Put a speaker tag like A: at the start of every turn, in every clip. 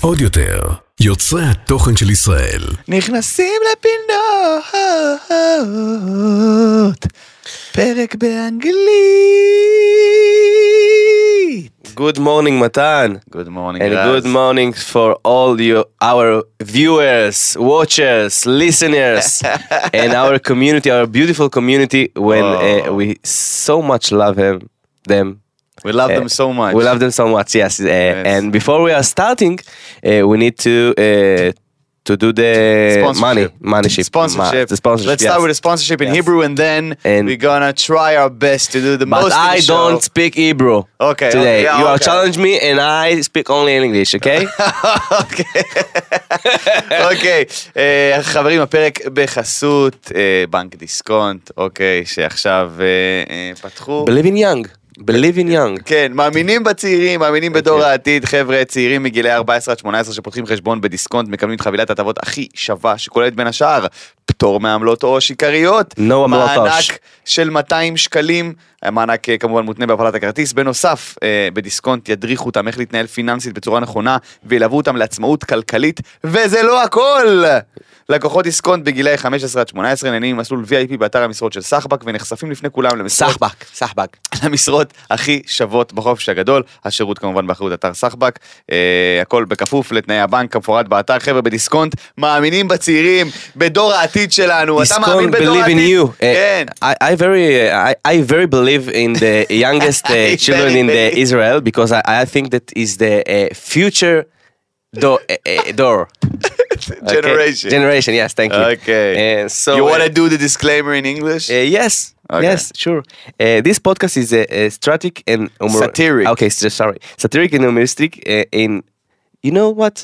A: עוד יותר, יוצרי התוכן של ישראל.
B: נכנסים לפינות, פרק באנגלית.
C: Good morning, מתן.
B: גוד מורנינג
C: And
B: רז.
C: good morning for all you, our viewers, watchers, listeners, and our community, our beautiful community. When uh,
B: Oh.
C: we so much love him, them.
B: We love
C: uh,
B: them so much.
C: We love them so much. Yes. Uh, And before we are starting, uh, we need to uh, to do the money, money ship,
B: Sponsorship.
C: the sponsorship.
B: Let's start
C: yes.
B: with the sponsorship in
C: Yes.
B: Hebrew and then
C: And-
B: we're gonna try our best to do the
C: But
B: most. of the
C: I
B: show.
C: don't speak Hebrew
B: Okay, okay,
C: today.
B: yeah,
C: you are
B: okay.
C: challenge me, and I speak only in English. Okay.
B: אוקיי, אה, חברים, הפרק בחסות אה, בנק דיסקונט, אוקיי, שעכשיו אה, אה, פתחו.
C: Believe in young. Believe in young.
B: כן, מאמינים בצעירים, מאמינים בדור
C: כן.
B: העתיד, חבר'ה, צעירים מגילאי 14 עד 18 שפותחים חשבון בדיסקונט, מקבלים את חבילת ההטבות הכי שווה, שכוללת בין השאר פטור מעמלות עו"ש עיקריות,
C: No עמלות עו"ש.
B: מענק של 200 שקלים, המענק אה, כמובן מותנה בהפעלת הכרטיס, בנוסף, אה, בדיסקונט ידריכו אותם איך להתנהל פיננסית בצורה נכונה, וילוו אותם לעצמאות כלכלית, וזה לא הכל! לקוחות דיסקונט בגילאי 15 עד 18 נהנים ממסלול VIP באתר המשרות של סחבק ונחשפים לפני כולם למשרות
C: סחבק, סחבק.
B: למשרות הכי שוות בחופש הגדול, השירות כמובן באחריות אתר סחבק, אה, הכל בכפוף לתנאי הבנק כמפורט באתר, חבר'ה בדיסקונט, מאמינים בצעירים, בדור העתיד שלנו, אתה מאמין
C: Discount
B: בדור
C: believe in
B: העתיד?
C: you. Uh,
B: כן.
C: I, I very, uh, I, I very believe in the youngest
B: I
C: uh, children
B: very
C: in the
B: believe.
C: Israel because I, I think that is the uh, future door. Uh, uh, door. Okay?
B: Generation.
C: Generation. Yes. Thank you.
B: Okay.
C: Uh, אה, so
B: you want
C: uh,
B: to do the disclaimer in English?
C: Uh, yes.
B: Okay.
C: Yes, sure. Uh, this podcast is uh, uh, stratic and humor-
B: Satiric.
C: Okay, so, sorry, satiric and humoristic. Uh, in you know what?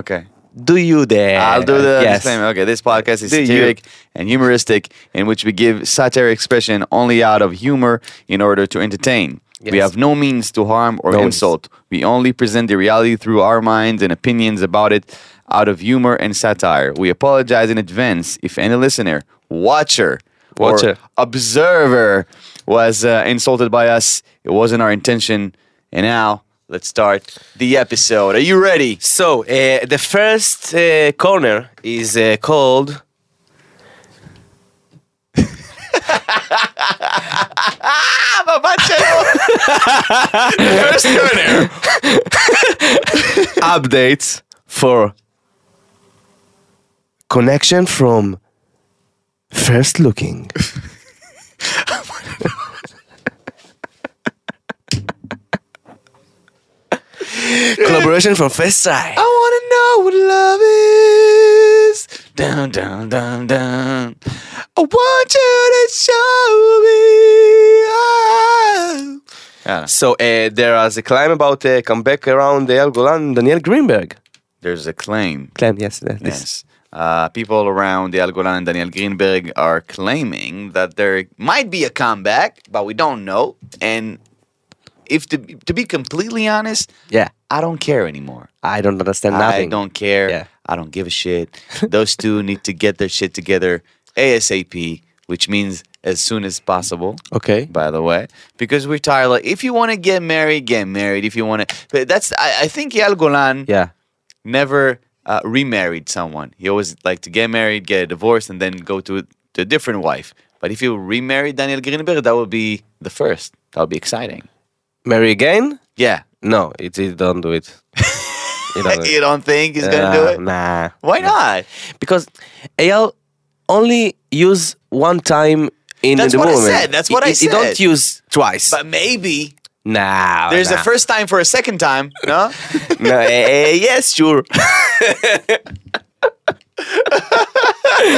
B: Okay.
C: Do you there?
B: I'll do the
C: yes.
B: disclaimer. Okay, this podcast is
C: Do you-
B: satiric and humoristic, in which we give satire expression only out of humor in order to entertain. We
C: Yes.
B: have no means to harm or
C: No means.
B: insult. We only present the reality through our minds and opinions about it out of humor and satire. We apologize in advance if any listener, watcher, or
C: Watcher.
B: observer was uh, insulted by us. It wasn't our intention. And now, let's start the episode. Are you ready?
C: So uh, the first uh, corner is uh, called.
B: First corner.
C: updates for connection from first looking. Collaboration from first sight.
B: I wanna know what love is. Down, down, down, down. I want you to show me. Yeah.
C: So uh, there was a claim about uh, comeback around El Golan, Daniel Greenberg.
B: There's a claim.
C: Claim, yes, that- this.
B: Yes. Uh, people around the Al Golan and Daniel Greenberg are claiming that there might be a comeback, but we don't know. And if to, to be completely honest,
C: Yeah,
B: I don't care anymore.
C: I don't understand
B: I
C: nothing.
B: don't care.
C: Yeah.
B: I don't give a shit. Those two need to get their shit together ASAP, which means as soon as possible.
C: Okay.
B: By the way, because we're tired. Like, if you want to get married, get married. If you want to, but that's I, I think Yael Golan
C: Yeah.
B: never uh, remarried someone. He always liked to get married, get a divorce, and then go to a, to a different wife. But if you remarried Daniel Greenberg, that would be the first. That would be exciting.
C: Marry again?
B: Yeah,
C: No, it, it don't do it. You don't do it.
B: you don't think he's gonna do
C: Uh,
B: it?
C: Nah.
B: Why not?
C: because AL only use one time in
B: That's
C: the
B: what I
C: moment.
B: said, that's what I
C: You don't
B: said.
C: use twice.
B: But maybe
C: nah.
B: There's
C: Oh, nah.
B: a first time for a second time, no?
C: no, eh, eh, yes, sure.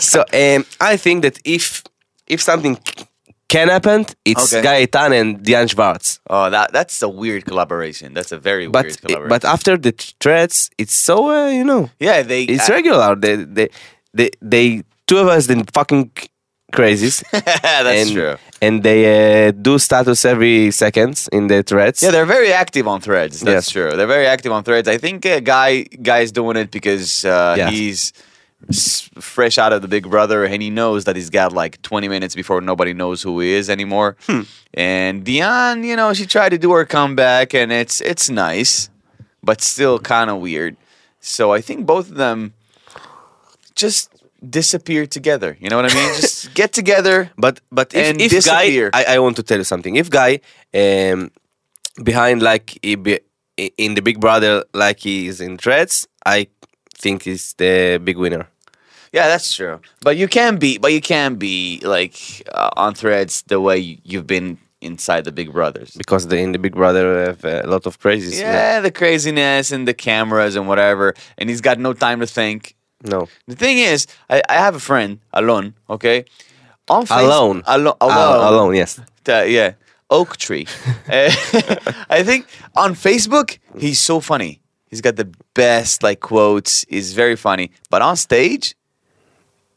C: so um, I think that if if something c- can happen, it's
B: Okay.
C: Gaetan and Diane Schwartz.
B: oh, that that's a weird collaboration. That's a very
C: But
B: weird collaboration.
C: but after the threats, it's so uh, you know
B: yeah, they
C: it's
B: uh,
C: regular. They they they, they two of us then fucking c- crazies.
B: that's
C: and,
B: true.
C: And they uh, do status every seconds in the threads.
B: Yeah, they're very active on Threads. That's
C: Yes.
B: true. They're very active on Threads. I think uh, guy guy's doing it because uh,
C: Yes.
B: he's s- fresh out of the Big Brother, and he knows that he's got like 20 minutes before nobody knows who he is anymore.
C: Hmm.
B: And Dion, you know, she tried to do her comeback, and it's it's nice, but still kind of weird. So I think both of them just disappear together. You know what I mean? just get together.
C: But but if,
B: And
C: if guy,
B: disappear.
C: I, I want to tell you something. If guy um, behind like he be, i- in the Big Brother, like he is in threats, I think he's the big winner.
B: Yeah, that's true. But you can be, but you can be like uh, on threads the way you- you've been inside the Big Brothers.
C: because they in the Big Brother have uh, a lot of praises.
B: Yeah, the craziness and the cameras and whatever, and he's got no time to think.
C: No.
B: The thing is, I, I have a friend, Alon. Okay, on Facebook,
C: Alone.
B: Alon,
C: Alone.
B: Alon,
C: alone. Yes.
B: Uh, yeah, oak tree. Uh, I think on Facebook he's so funny. He's got the best like quotes. He's very funny, but on stage,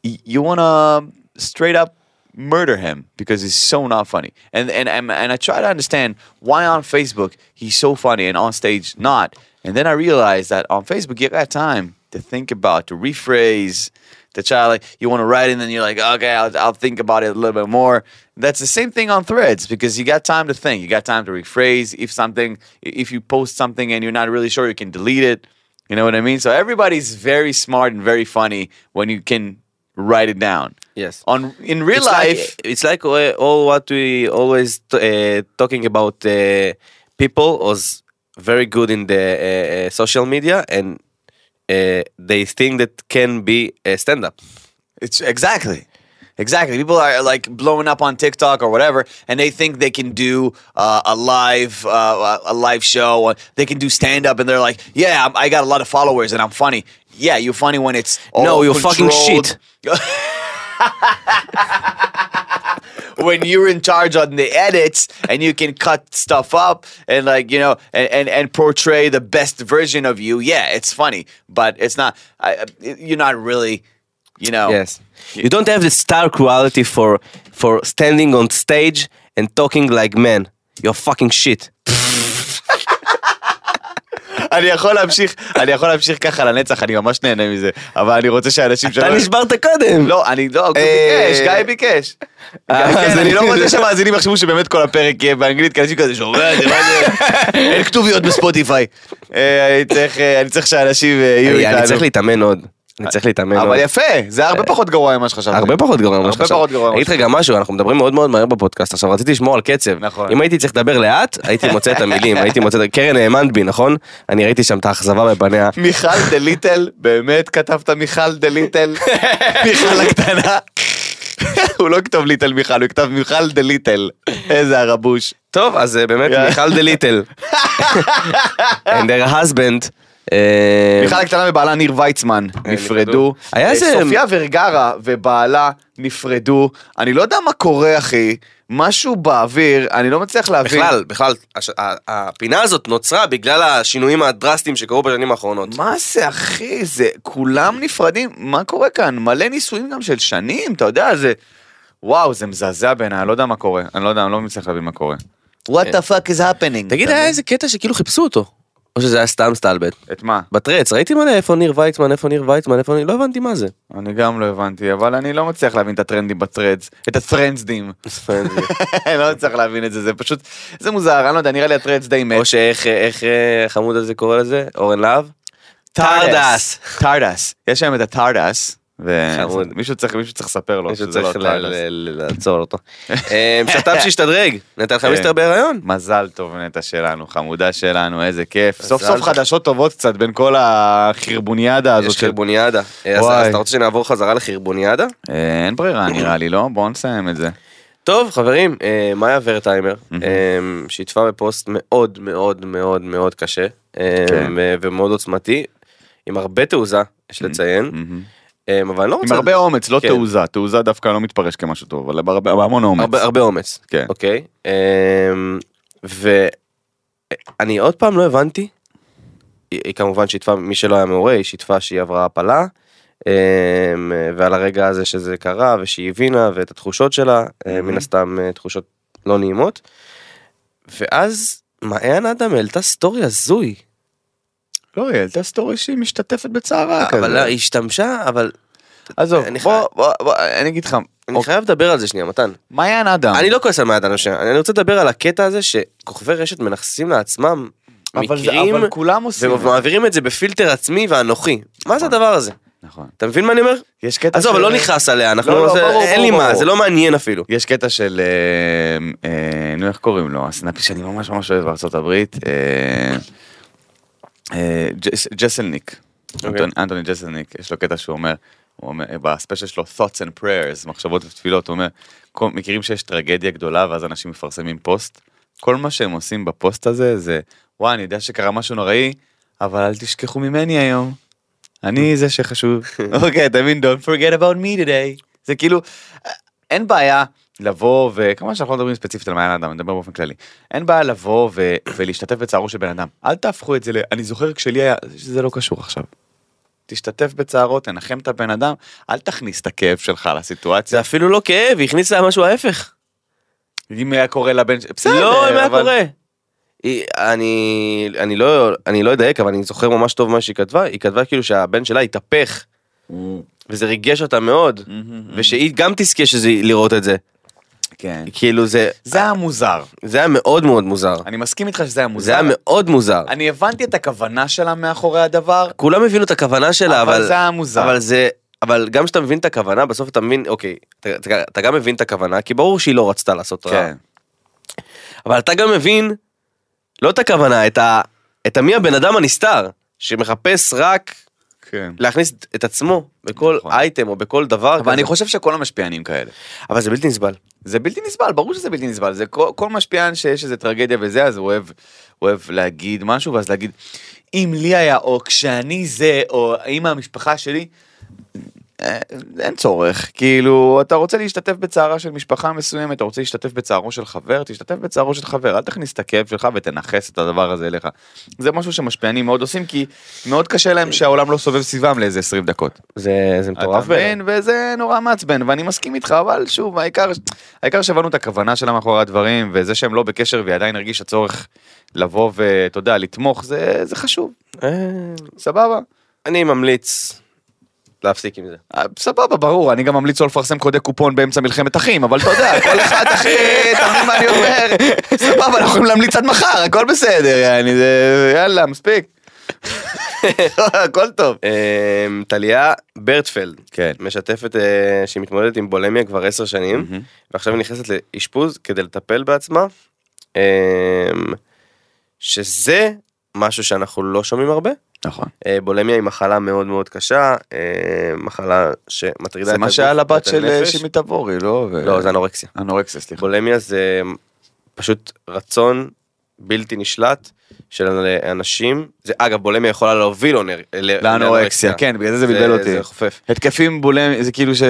B: y- you wanna straight up murder him because he's so not funny. And and and, and I try to understand why on Facebook he's so funny and on stage not. And then I realized that on Facebook you got time to think about to rephrase. To try like you want to write and then you're like okay I'll, I'll think about it a little bit more. That's the same thing on Threads because you got time to think, you got time to rephrase. If something, if you post something and you're not really sure, you can delete it. You know what I mean? So everybody's very smart and very funny when you can write it down.
C: Yes.
B: On in real
C: it's
B: life,
C: Like, it's like uh, all what we always t- uh, talking about. Uh, people was very good in the uh, uh, social media and uh, they think that can be uh, a stand up.
B: it's exactly. Exactly. People are like blowing up on TikTok or whatever, and they think they can do uh, a live uh, a live show. Or they can do stand up, and they're like, "Yeah, I'm, I got a lot of followers, and I'm funny." Yeah, you're funny when it's
C: No,
B: all
C: you're fucking
B: controlled. when you're in charge on the edits and you can cut stuff up and like you know and and, and portray the best version of you yeah it's funny but it's not I, I- you're not really you know
C: Yes. Oh. You don't have the star quality for for standing on stage and talking like man. You're fucking shit.
B: אני יכול להמשיך אני יכול להמשיך ככה לנצח אני ממש נהנה מזה אבל אני רוצה שאנשים
C: אתה נשברת קודם.
B: לא, אני לא, הוא
C: אה,
B: ביקש, גיא ביקש.
C: אה,
B: כן,
C: אז
B: אני לא
C: אני-
B: רוצה שהמאזינים יחשבו שבאמת כל הפרק יהיה באנגלית, כי אנשים כזה שומע את זה, מה זה? אין כתוביות בספוטיפיי. אה, אני צריך, אה, אני צריך שאנשים אה, יהיו
C: אני- אני
B: איתנו.
C: צריך להתאמן עוד. אני צריך להתאמן עוד.
B: אבל יפה, זה הרבה פחות גרוע ממה שחשבתי.
C: הרבה פחות גרוע ממה
B: הרבה
C: שחשבתי.
B: פחות גרוע ממה
C: אני אגיד לך גם משהו, אנחנו מדברים מאוד מאוד מהר בפודקאסט, עכשיו רציתי לשמור על קצב.
B: נכון.
C: אם הייתי צריך לדבר לאט, הייתי מוצא את המילים, הייתי מוצא את... קרן האמנת בי, נכון? אני ראיתי שם את האכזבה בפניה.
B: מיכל דה ליטל, באמת כתבת מיכל דה ליטל? מיכל הקטנה. הוא לא כתוב ליטל מיכל, הוא כתב מיכל דה ליטל. איזה הרבוש.
C: טוב, אז אה, באמת,
B: יאללה.
C: מיכל דה ליטל. And their husband. אה,
B: מיכל הקטנה ובעלה ניר ויצמן נפרדו.
C: היה
B: אה,
C: איזה-
B: סופיה ורגרה ובעלה נפרדו. אני לא יודע מה קורה, אחי. משהו באוויר, אני לא מצליח להבין.
C: בכלל, בכלל, הש- ה- הפינה הזאת נוצרה בגלל השינויים הדרסטיים שקרו בשנים האחרונות.
B: מה זה, אחי? זה... כולם נפרדים? מה קורה כאן? מלא נישואים גם של שנים, אתה יודע, זה... וואו, זה מזעזע בעיניי, אני לא יודע מה קורה. אני לא יודע, אני לא מצליח להבין מה קורה. What the fuck is happening?
C: תגיד, היה איזה קטע שכאילו חיפשו אותו. או שזה היה סתם סטלבט.
B: את מה?
C: בטרץ, ראיתי מלא איפה ניר ויצמן, איפה ניר ויצמן, איפה ניר, לא הבנתי מה זה.
B: אני גם לא הבנתי, אבל אני לא מצליח להבין את הטרנדים בטרדס, את הטרנדסדים. אני לא צריך להבין את זה, זה פשוט, זה מוזר, אני לא יודע, נראה לי הטרדס די מת.
C: או שאיך איך אה, החמוד הזה קורא לזה? אורן להב?
B: טרדס. יש היום את הטרדס,
C: חמוד.
B: ומישהו צריך, מישהו צריך לספר לו
C: מישהו
B: שזה לא
C: צריך ל-
B: טרדס.
C: ל- ל- לעצור אותו. אה, שת"פ שהשתדרג, נתן לך
B: כן.
C: מיסטר בהיריון.
B: מזל טוב נטע שלנו, חמודה שלנו, איזה כיף. סוף סוף
C: טוב.
B: חדשות טובות קצת בין כל החרבוניאדה הזאת.
C: יש
B: של-
C: חרבוניאדה. אה, אז
B: אוקיי. וואי.
C: אז אתה רוצה שנעבור חזרה לחרבוניאדה?
B: אה, אין ברירה נראה לי, לא? בואו נסיים את זה.
C: טוב חברים, אה, מאיה ורטהיימר אה, שיתפה בפוסט מאוד מאוד מאוד מאוד קשה אה,
B: כן.
C: ו- ומאוד עוצמתי, עם הרבה תעוזה, יש לציין,
B: מהמם.
C: אה, אבל אני לא
B: עם
C: רוצה...
B: הרבה אומץ, לא
C: כן.
B: תעוזה. תעוזה דווקא לא מתפרש כמשהו טוב, אבל בהרבה- בהמון אומץ.
C: הרבה, הרבה אומץ.
B: כן.
C: אוקיי. Um, ואני עוד פעם לא הבנתי, היא, היא כמובן שיתפה, מי שלא היה מעורה, היא שיתפה שהיא עברה הפלה, um, ועל הרגע הזה שזה קרה, ושהיא הבינה, ואת התחושות שלה, אה, מן הסתם אה, תחושות לא נעימות. ואז מעיין אדם העלתה סטורי הזוי.
B: לא, היא העלתה סטורי שהיא משתתפת בצערה.
C: אבל היא אה, השתמשה, אבל
B: עזוב,
C: אני
B: בוא,
C: חי-
B: בוא, בוא, אני אגיד לך,
C: אני חייב לדבר על זה שנייה, מתן.
B: מעיין אדם,
C: אני לא כועס על מעדן השנה, אני רוצה לדבר על הקטע הזה שכוכבי רשת מנכסים לעצמם
B: אבל זה-
C: מקרים,
B: אבל כולם עושים. את זה.
C: ומעבירים את זה בפילטר עצמי ואנוכי. מה זה הדבר הזה?
B: נכון.
C: אתה מבין מה אני אומר?
B: יש קטע
C: עזוב, אבל
B: של-
C: לא נכעס עליה, אנחנו...
B: לא, לא,
C: זה-
B: ברור,
C: אין לי
B: ברור,
C: מה,
B: ברור.
C: זה לא מעניין אפילו.
B: יש קטע של, אה, אה, נו איך קוראים לו, הסנאפי שאני ממש ממש אוהב בארצות הברית, אה, אה, ג'ס- ג'סלניק,
C: אוקיי.
B: אנטוני- אנטוני ג'סלניק, יש לו קטע שהוא אומר, הוא אומר, בספיישל שלו thoughts and prayers, מחשבות ותפילות, הוא אומר, כל- מכירים שיש טרגדיה גדולה ואז אנשים מפרסמים פוסט, כל מה שהם עושים בפוסט הזה זה, וואי אני יודע שקרה משהו נוראי, אבל אל תשכחו ממני היום. אני זה שחשוב. אוקיי, אתה מבין? Don't forget about me today. זה כאילו, אה, אין בעיה לבוא, וכמובן שאנחנו לא מדברים ספציפית על מעיין אדם, נדבר באופן כללי. אין בעיה לבוא ו- ולהשתתף בצערו של בן אדם. אל תהפכו את זה ל... אני זוכר כשלי היה... זה לא קשור עכשיו. תשתתף בצערו, תנחם את הבן אדם, אל תכניס את הכאב שלך
C: זה
B: לסיטואציה.
C: אפילו לא כאב, היא הכניסה לה משהו ההפך.
B: אם היה קורה לבן... ש- בסדר,
C: לא, מה
B: אבל-
C: קורה? היא- אני אני לא אני לא אדייק, אבל אני זוכר ממש טוב מה שהיא כתבה, היא כתבה כאילו שהבן שלה התהפך, וזה ריגש אותה מאוד,
B: Mm-hmm.
C: ושהיא גם תזכה שזה לראות את זה.
B: כן.
C: כאילו זה,
B: זה היה מוזר.
C: זה היה מאוד מאוד מוזר.
B: אני מסכים איתך שזה היה מוזר.
C: זה היה מאוד מוזר.
B: אני הבנתי את הכוונה שלה מאחורי הדבר,
C: כולם הבינו את הכוונה שלה, אבל...
B: אבל זה היה מוזר.
C: אבל זה... אבל גם כשאתה מבין את הכוונה, בסוף אתה מבין, אוקיי, אתה, אתה, אתה גם מבין את הכוונה, כי ברור שהיא לא רצתה לעשות רע.
B: כן.
C: אבל אתה גם מבין, לא את הכוונה, את, ה, את המי הבן אדם הנסתר, שמחפש רק
B: כן.
C: להכניס את עצמו בכל
B: נכון.
C: אייטם או בכל דבר.
B: אבל אני
C: כזה.
B: חושב שכל המשפיענים כאלה.
C: אבל זה בלתי נסבל.
B: זה בלתי נסבל, ברור שזה בלתי נסבל. זה כל, כל משפיען שיש איזה טרגדיה וזה, אז הוא אוהב, הוא אוהב להגיד משהו, ואז להגיד, אם לי היה, או כשאני זה, או אם המשפחה שלי, אה, אין צורך. כאילו, אתה רוצה להשתתף בצערה של משפחה מסוימת, אתה רוצה להשתתף בצערו של חבר, תשתתף בצערו של חבר, אל תכניס את הכאב שלך ותנכס את הדבר הזה אליך. זה משהו שמשפיענים מאוד עושים, כי מאוד קשה להם שהעולם לא סובב סביבם לאיזה 20 דקות.
C: זה, זה מטורף.
B: אתה
C: בעיניי.
B: מבין, וזה נורא מעצבן, ואני מסכים איתך, אבל שוב, העיקר, העיקר שהבנו את הכוונה שלה מאחורי הדברים, וזה שהם לא בקשר והיא עדיין הרגישה צורך לבוא ואתה יודע, לתמוך, זה, זה חשוב,
C: אה,
B: סבבה.
C: אני ממליץ להפסיק עם זה.
B: אה, סבבה, ברור, אני גם ממליץ לא לפרסם קודי קופון באמצע מלחמת אחים, אבל אתה יודע, כל אחד אחי, אתה מבין מה אני אומר? סבבה, אנחנו יכולים להמליץ עד מחר, הכל בסדר, יעני, זה, יאללה, מספיק. הכל טוב.
C: אמ, טליה ברטפלד
B: כן.
C: משתפת אה, שהיא מתמודדת עם בולמיה כבר עשר שנים
B: מהמם.
C: ועכשיו היא נכנסת לאשפוז כדי לטפל בעצמה. אמ, שזה משהו שאנחנו לא שומעים הרבה.
B: נכון.
C: אה, בולמיה היא מחלה מאוד מאוד קשה, אה, מחלה שמטרידה
B: זה מה שהיה
C: הגוף,
B: לבת
C: את
B: של אה,
C: הנפש.
B: שימי תבורי, לא? ו-
C: לא, זה אנורקסיה.
B: אנורקסיה, סליחה.
C: בולמיה זה פשוט רצון בלתי נשלט של אנשים. זה אגב, בולמיה יכולה להוביל אונר- ל-
B: לאנורקסיה, כן, בגלל זה זה בלבל אותי.
C: לא, זה חופף.
B: התקפים בולמיים, זה כאילו ש...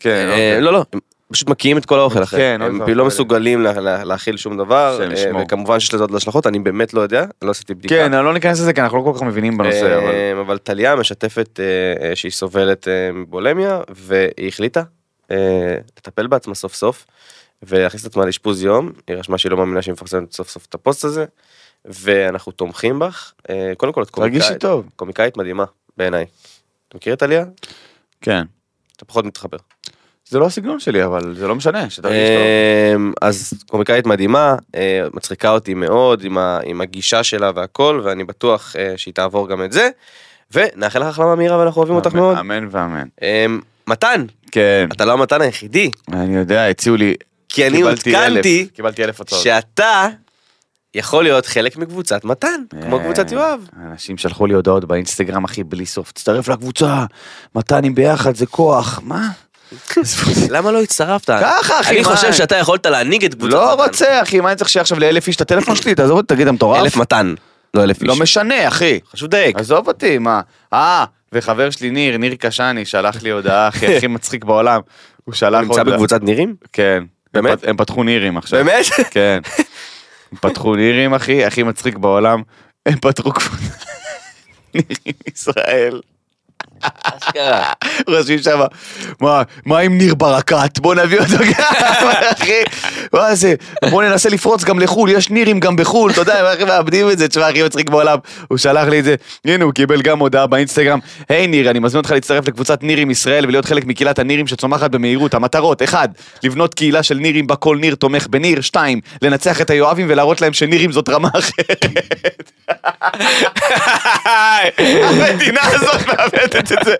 B: כן,
C: אה,
B: אוקיי.
C: לא, לא, הם פשוט מקיאים את כל האוכל אחרי.
B: כן, אוי
C: הם
B: ואבוי.
C: כאילו לא מסוגלים לה- לה- להאכיל שום דבר,
B: השם
C: אה,
B: ישמור.
C: וכמובן שיש לזה עוד השלכות, אני באמת לא יודע, לא עשיתי בדיקה.
B: כן, לא ניכנס לזה, כי אנחנו לא כל כך מבינים בנושא, אבל...
C: אה, אבל טליה משתפת אה, אה, שהיא סובלת אה, מבולמיה, והיא החליטה אה, לטפל בעצמה סוף סוף, ולהכניס את עצמה לאשפוז יום, היא רשמה שהיא לא מאמינה שהיא מפרסמת סוף סוף את הפוסט הזה, ואנחנו תומכים בך, אה, קודם כל את
B: תרגישי
C: קומיקאית,
B: טוב.
C: קומיקאית מדהימה בעיניי. אתה מכיר את טליה?
B: כן.
C: אתה פחות מתחבר.
B: זה לא הסגנון שלי, אבל זה לא משנה, שתרגיש טוב.
C: אמ, אז קומיקאית מדהימה, אה, מצחיקה אותי מאוד עם, ה, עם הגישה שלה והכל, ואני בטוח אה, שהיא תעבור גם את זה. ונאחל לך החלמה מהירה ואנחנו אוהבים אותך
B: אמן-
C: מאוד.
B: אמן ואמן.
C: אמ, מתן,
B: כן,
C: אתה לא המתן היחידי,
B: אני יודע, הציעו לי...
C: כי אני
B: קיבלתי
C: עודכנתי
B: אלף, כן, קיבלתי אלף הצעות.
C: שאתה יכול להיות חלק מקבוצת מתן, כמו
B: אה,
C: קבוצת יואב.
B: אנשים שלחו לי הודעות באינסטגרם, אחי, בלי סוף. תצטרף לקבוצה, מתנים ביחד, זה כוח. מה?
C: למה לא הצטרפת?
B: ככה, אחי,
C: אני
B: מה?
C: חושב שאתה יכולת להנהיג את קבוצת
B: לא
C: מתן.
B: רוצה, אחי, מה אני צריך שיהיה עכשיו לאלף איש את הטלפון שלי? תעזוב אותי, תגיד, אתה מטורף?
C: אלף מתן, לא אלף איש.
B: לא משנה, אחי.
C: חשוב דייק.
B: עזוב אותי, מה? אה, וחבר שלי ניר, ניר קשני, שלח לי הודעה, אחי, הכי מצחיק בעולם. הוא שלח
C: הוא נמצא
B: הודעה-
C: בקבוצת נירים?
B: כן.
C: באמת?
B: הם פת- הם פתחו נירים עכשיו.
C: באמת?
B: כן. הם פתחו נירים, אחי, הכי מצחיק בעולם. הם פתחו קבוצה. נירים ישראל.
C: אשכרה.
B: רושמים שם, מה, מה עם ניר ברקת? בוא נביא אותו גם, אחי. מה זה, בוא ננסה לפרוץ גם לחו"ל, יש נירים גם בחו"ל, אתה יודע, איך מאבדים את זה, תשמע, הכי מצחיק בעולם. הוא שלח לי את זה, הנה, הוא קיבל גם הודעה באינסטגרם. היי ניר, אני מזמין אותך להצטרף לקבוצת נירים ישראל ולהיות חלק מקהילת הנירים שצומחת במהירות. המטרות, 1. לבנות קהילה של נירים בה כל ניר תומך בניר, 2. לנצח את היואבים ולהראות להם שנירים זאת רמה אחרת. המדינה הזאת מאבדת את זה.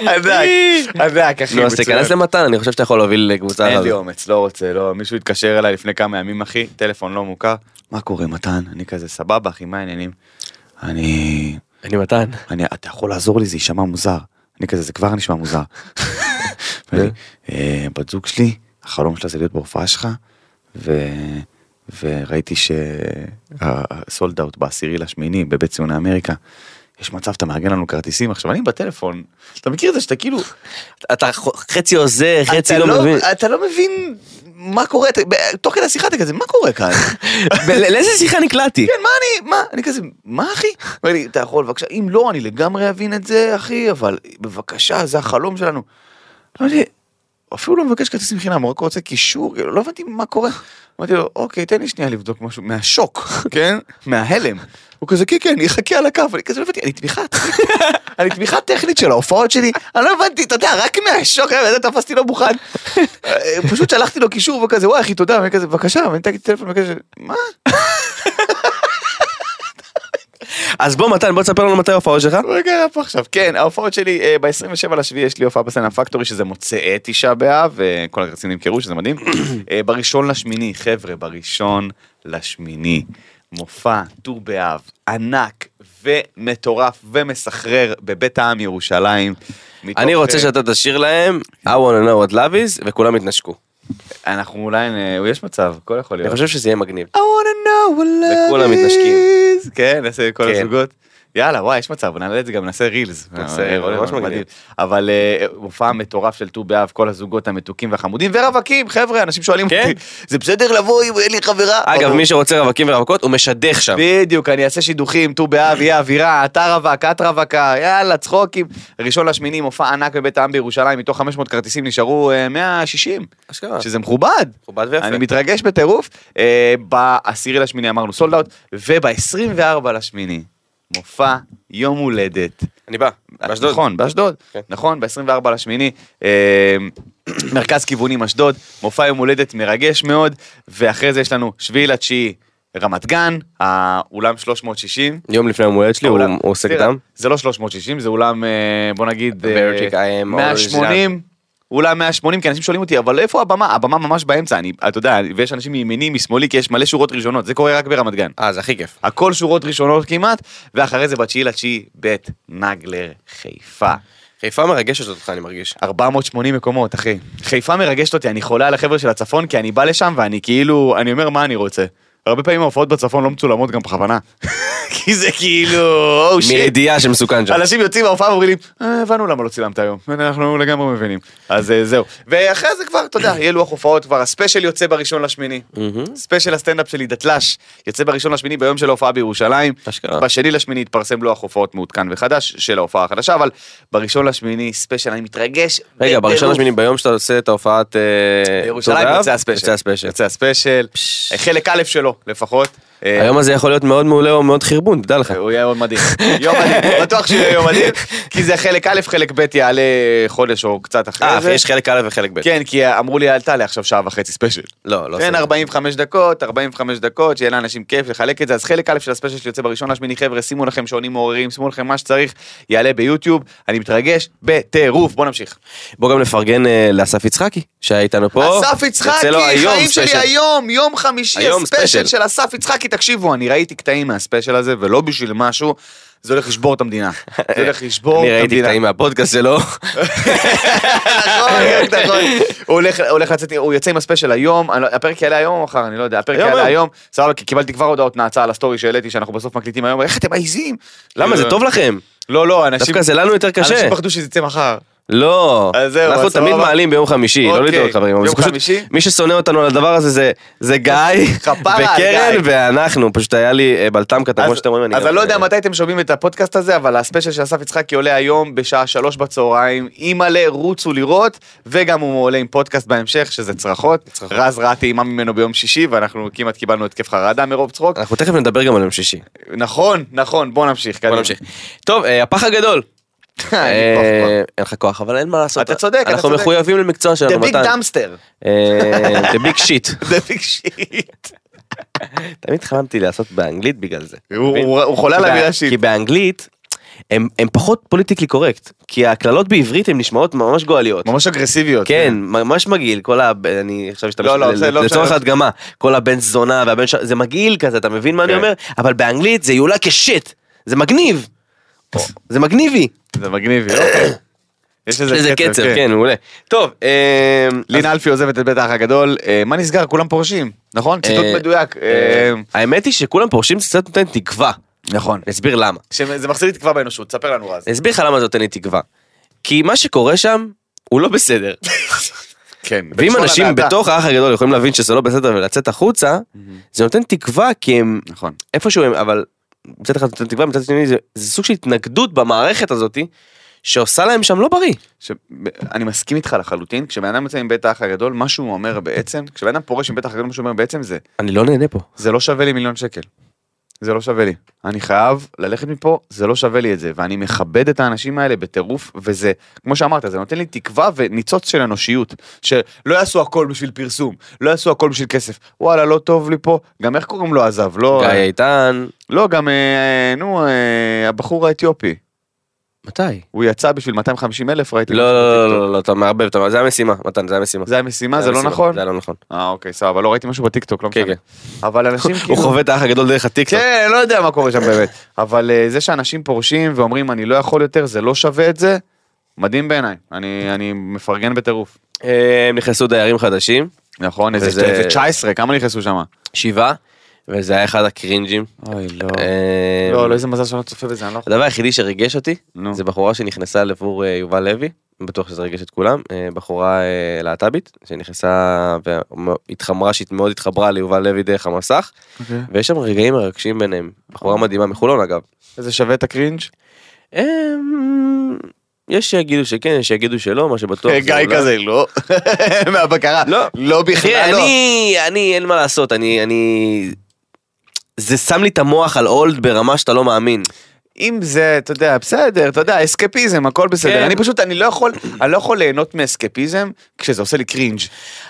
B: ענק, ענק, אחי.
C: נו, אז
B: מצוין.
C: תיכנס למתן, אני חושב שאתה יכול להוביל לקבוצה
B: אין
C: אחת.
B: לי אומץ, לא רוצה, לא, מישהו התקשר אליי לפני כמה ימים, אחי, טלפון לא מוכר, מה קורה, מתן? אני כזה, סבבה, אחי, מה העניינים? אני...
C: אני מתן.
B: אני, אתה יכול לעזור לי, זה יישמע מוזר. אני כזה, זה כבר נשמע מוזר.
C: כן.
B: ואני, "אה, בת זוג שלי, החלום שלה זה להיות בהופעה שלך, ו... וראיתי שהסולד אאוט בעשירי לשמיני בבית ציוני אמריקה. יש מצב אתה מארגן לנו כרטיסים עכשיו אני בטלפון אתה מכיר את זה שאתה כאילו
C: אתה ח- חצי עוזר, חצי
B: אתה
C: לא מבין.
B: אתה לא מבין מה קורה אתה- ב- תוך כדי השיחה אתה כזה מה קורה כאן
C: ב- לאיזה שיחה נקלעתי?
B: כן, מה אני, מה, אני כזה, מה אחי? אומר לי, אתה יכול בבקשה, אם לא, אני לגמרי אבין את זה, אחי, אבל בבקשה, זה החלום שלנו. אמרתי, לי, אפילו לא מבקש כרטיסים חינם, הוא רק רוצה קישור, כאילו, לא הבנתי מה קורה. אמרתי לו, אוקיי, תן לי שנייה לבדוק משהו, מהשוק, כן? מההלם. הוא כזה, כן, כן, יחכה על הקו, אני כזה לא הבנתי, אני תמיכה, אני תמיכה טכנית של ההופעות שלי, אני לא הבנתי, אתה יודע, רק מהשוק, אני יודע, תפסתי לא מוכן. אה, פשוט שלחתי לו קישור וכזה, וואי אחי, תודה, ואני כזה, בבקשה, ואני נתתי טלפון וכזה, מה?
C: אז בוא מתן, בוא תספר לנו מתי ההופעות שלך.
B: מה קרה פה עכשיו? כן, ההופעות שלי, ב-27 לשביעי יש לי הופעה בסצנה פקטורי, שזה מוצאי תשעה באב, וכל הכרטיסים נמכרו, שזה מדהים. אה, בראשון לשמיני, חבר'ה, בראשון לשמיני, מופע ט"ו באב, ענק ומטורף ומסחרר בבית העם ירושלים. מתוך,
C: אני רוצה
B: אה,
C: שאתה תשאיר להם I want to know what love is וכולם יתנשקו.
B: אנחנו אולי, אה, יש מצב, הכל יכול
C: אני
B: להיות.
C: חושב שזה יהיה מגניב.
B: I wanna know what love is.
C: וכולם מתנשקים.
B: כן, נעשה כל
C: כן.
B: הזוגות. יאללה, וואי, יש מצב, נעלה את זה גם, נעשה רילס.
C: נעשה,
B: אה,
C: ממש
B: מדהים.
C: מגניב.
B: אבל אה, מופע מטורף של ט"ו באב, כל הזוגות המתוקים והחמודים ורווקים, חבר'ה, אנשים שואלים
C: כן.
B: אותי, זה בסדר לבוא אם אין לי חברה? אוקיי.
C: אגב,
B: אבל-
C: מי שרוצה רווקים ורווקות הוא משדך שם.
B: בדיוק, אני אעשה שידוכים, ט"ו באב, יהיה אווירה, אתה רווק, את רווקה, יאללה, צחוקים. ראשון לשמיני, מופע ענק בבית העם בירושלים, מתוך 500 כרטיסים נשארו אה, 160,
C: אשכרה.
B: שזה מכובד.
C: מכובד ויפה.
B: אני מתרגש בטירוף. אה, בעשירי לשמיני אמרנו סולד אאוט, וב-24 לשמיני, מופע יום הולדת.
C: אני בא. באשדוד.
B: נכון, באשדוד.
C: כן.
B: נכון, ב-24 לשמיני. אה, מרכז כיוונים אשדוד, מופע יום הולדת מרגש מאוד, ואחרי זה יש לנו שביעי לתשיעי רמת גן, האולם 360.
C: יום לפני יום הולדת שלי, לא, הוא
B: האולם-
C: הוא עושה
B: תראה,
C: קדם.
B: זה לא 360, זה אולם, אה, בוא נגיד, אה,
C: Vertic, I am
B: 180. אולם 180, כי אנשים שואלים אותי, אבל איפה הבמה? הבמה ממש באמצע, אני, אתה יודע, ויש אנשים מימיני, משמאלי, כי יש מלא שורות ראשונות, זה קורה רק ברמת גן.
C: אה, זה הכי כיף.
B: הכל שורות ראשונות כמעט, ואחרי זה בתשיעי לתשיעי בית נגלר חיפה.
C: חיפה מרגשת אותך, אני
B: Oh,
C: מרגיש.
B: 480 מקומות, אחי. חיפה מרגשת אותי, אני חולה על החבר'ה של הצפון, כי אני בא לשם ואני כאילו, אני אומר מה אני רוצה. הרבה פעמים ההופעות בצפון לא מצולמות גם בכוונה. כי זה כאילו, או שיט.
C: מידיעה שמסוכן שם.
B: אנשים יוצאים מההופעה ואומרים לי, "אה, הבנו למה לא צילמת היום, אנחנו לגמרי מבינים. אז אה, זהו. ואחרי זה כבר, אתה יודע, יהיה לוח הופעות כבר, הספיישל יוצא בראשון לשמיני. ספיישל הסטנדאפ שלי, דתל"ש, יוצא בראשון לשמיני ביום של ההופעה בירושלים.
C: אשכרה.
B: בשני לשמיני יתפרסם לוח הופעות מעודכן וחדש של ההופעה החדשה, אבל בראשון לשמיני ספיישל, אני מתרגש.
C: רגע,
B: בטירוף.
C: בראשון לשמיני ביום שאתה עושה את ההופעת... אה,
B: אה, בירושלים
C: תודה,
B: יוצא הספיישל.
C: יוצא הספיישל.
B: יוצא הספיישל,
C: פש.
B: חלק א' שלו לפחות. אה,
C: היום הזה יכול להיות מאוד מעולה או מאוד חרבון, תדע לך.
B: הוא יהיה יום מדהים. יום מדהים, בטוח שהוא יהיה יום מדהים, כי זה חלק א', חלק ב' יעלה חודש או קצת אחרי
C: אה,
B: זה.
C: יש חלק א' וחלק ב'.
B: כן, כי אמרו לי, אל תעלה עכשיו שעה וחצי ספיישל.
C: לא, לא
B: תן
C: סבבה.
B: 45 דקות, 45 דקות, שיהיה לאנשים כיף לחלק את זה. אז חלק א' של הספיישל שיוצא בראשון לשמיני, חבר'ה, שימו לכם שעונים מעוררים, שימו לכם מה שצריך, יעלה ביוטיוב, אני מתרגש בטירוף, בוא נמשיך.
C: בוא גם נפרגן אה, לאסף יצחקי, שהיה איתנו פה.
B: אסף
C: יוצא
B: יצחקי,
C: לו היום
B: חיים
C: ספיישל.
B: שלי היום, יום חמישי,
C: היום
B: הספיישל
C: ספיישל.
B: של אסף יצחקי, תקשיבו, אני ראיתי קטעים מהספיישל הזה, ולא בשביל משהו, זה הולך לשבור את המדינה. זה הולך לשבור את המדינה.
C: אני ראיתי קטעים מהפודקאסט לא- שלו.
B: נכון, נכון. הוא הולך- הוא הולך לצאת, הוא יוצא עם הספיישל היום, אני לא- הפרק יעלה היום או מחר, אני לא יודע, הפרק
C: היום,
B: יעלה
C: היום.
B: היום, סבבה, כי קיבלתי כבר הודעות נאצה על הסטורי שהעליתי, שאנחנו בסוף מקליטים היום, איך אתם מעיזים?
C: למה, זה טוב לכם?
B: לא, לא, אנשים...
C: דווקא זה לנו יותר קשה.
B: אנשים פחדו שזה יצא מחר.
C: לא,
B: אז זהו,
C: אנחנו
B: אז סבבה.
C: תמיד מעלים ביום חמישי, לא
B: אוקיי.
C: לדאוג חברים, אבל
B: יום
C: זה פשוט,
B: חמישי?
C: מי ששונא אותנו על הדבר הזה זה- זה גיא,
B: כפרה על
C: וקרן
B: גיא.
C: ואנחנו, פשוט היה לי אה, בלטם קטן, כמו
B: אז
C: שאתם רואים,
B: אז
C: גם-
B: אני לא יודע מתי אתם שומעים את הפודקאסט הזה, אבל הספיישל של אסף יצחקי עולה היום בשעה שלוש בצהריים, עם מלא רוצו לראות, וגם הוא עולה עם פודקאסט בהמשך, שזה צרחות. רז ראה טעימה ממנו ביום שישי, ואנחנו כמעט קיבלנו התקף חרדה מרוב צחוק.
C: אנחנו תכף נדבר גם על יום שישי,
B: נכון, נכון, בוא נמשיך.
C: בוא
B: קדימה.
C: נמשיך. טוב, אה, הפח הגדול.
B: אני כבר- כבר-
C: אה, אין לך כוח, אבל אין מה לעשות.
B: אתה צודק, אתה
C: אנחנו
B: צודק.
C: מחויבים למקצוע
B: The
C: שלנו,
B: big
C: מתן.
B: dumpster.
C: אה, The big shit.
B: The big shit.
C: תמיד חלמתי לעשות באנגלית בגלל זה.
B: הוא-
C: מבין?
B: הוא הוא חולה על
C: כי ב-
B: המילה
C: כי
B: שיט.
C: באנגלית הם הם פחות פוליטיקלי קורקט, כי הקללות בעברית הן נשמעות ממש גועליות.
B: ממש אגרסיביות.
C: כן, ממש מגעיל, כל ה... אני עכשיו אשתמש...
B: לא, לא, זה לא
C: לצורך
B: משנה.
C: ההדגמה, כל הבן זונה והבן ש... זה מגעיל כזה, אתה מבין מה אני
B: כן.
C: אומר? אבל באנגלית זה יעולה כשיט, זה מגניב. זה מגניבי.
B: זה מגניב, אוקיי. יש
C: כן. יש לזה קצב, כן, מעולה. טוב, אמ,
B: לין אלפי עוזבת את בית האח הגדול, אה, מה נסגר? כולם פורשים, נכון? ציטוט
C: אה,
B: מדויק.
C: אה,
B: אה,
C: האמת היא שכולם פורשים זה קצת נותן תקווה.
B: נכון.
C: אני אסביר למה.
B: שזה מחזיר לי תקווה באנושות, ספר לנו רז.
C: אני אסביר לך למה זה נותן לי תקווה. כי מה שקורה שם הוא לא בסדר.
B: כן.
C: ואם
B: בלשון
C: אנשים
B: המעטה.
C: בתוך האח הגדול יכולים להבין שזה לא בסדר ולצאת החוצה, זה נותן תקווה כי הם
B: נכון.
C: איפשהו הם, אבל מצד אחד זה נותן תקווה, מצד שני זה, זה סוג של התנגדות במערכת הזאתי, שעושה להם שם לא בריא.
B: ש- אני מסכים איתך לחלוטין, כשבן אדם יוצא מבית האח הגדול, מה שהוא אומר בעצם, כשבן אדם פורש מבית האח הגדול, מה שהוא אומר בעצם זה,
C: אני לא נהנה פה.
B: זה לא שווה לי מיליון שקל. זה לא שווה לי. אני חייב ללכת מפה, זה לא שווה לי את זה. ואני מכבד את האנשים האלה בטירוף, וזה, כמו שאמרת, זה נותן לי תקווה וניצוץ של אנושיות. שלא יעשו הכל בשביל פרסום, לא יעשו הכל בשביל כסף. וואלה, לא טוב לי פה. גם איך קוראים לו עזב? לא,
C: גיא איתן,
B: לא גם, אה, נו, אה, הבחור האתיופי.
C: מתי?
B: הוא יצא בשביל 250 אלף, ראיתי.
C: לא
B: משהו
C: לא
B: בטיקטוק.
C: לא לא לא, אתה מערבב, אתה- זה המשימה, מתן, זה המשימה.
B: זה המשימה, זה לא
C: המשימה,
B: נכון?
C: זה לא נכון.
B: אה, אוקיי, סבבה, לא ראיתי משהו בטיקטוק, לא
C: כן,
B: משנה. אבל אנשים
C: הוא
B: כאילו...
C: חווה את האח הגדול דרך הטיקטוק.
B: כן, לא יודע מה קורה שם באמת. אבל אה, זה שאנשים פורשים ואומרים אני לא יכול יותר, זה לא שווה את זה, מדהים בעיניי. אני, אני מפרגן בטירוף.
C: אה, הם נכנסו דיירים חדשים,
B: נכון, איזה
C: וזה-
B: איזה 19, כמה נכנסו שם?
C: שבעה, וזה היה אחד הקרינג'ים.
B: אוי, לא.
C: אה,
B: לא, לא, איזה מזל שאני לא צופה בזה, אני לא יכול.
C: הדבר היחידי שריגש אותי,
B: נו.
C: זה בחורה שנכנסה לבור אה, יובל לוי, אני בטוח שזה ריגש את כולם, אה, בחורה אה, להט"בית, שנכנסה והתחמרה, שהיא מאוד התחברה ליובל לוי דרך המסך, ויש שם רגעים מרגשים ביניהם, בחורה מדהימה מחולון אגב.
B: זה שווה את הקרינג'?
C: אה, אמ, יש שיגידו שכן, יש שיגידו שלא, מה שבטוח. זה אולי-
B: לא. מהבקרה.
C: לא.
B: לא
C: תראה, אני, אני, אין מה לעשות, אני, אני... זה שם לי את המוח על אולד ברמה שאתה לא מאמין.
B: אם זה, אתה יודע, בסדר, אתה יודע, אסקפיזם, הכל
C: כן.
B: בסדר. אני פשוט, אני לא יכול, אני לא יכול ליהנות מאסקפיזם כשזה עושה לי קרינג'.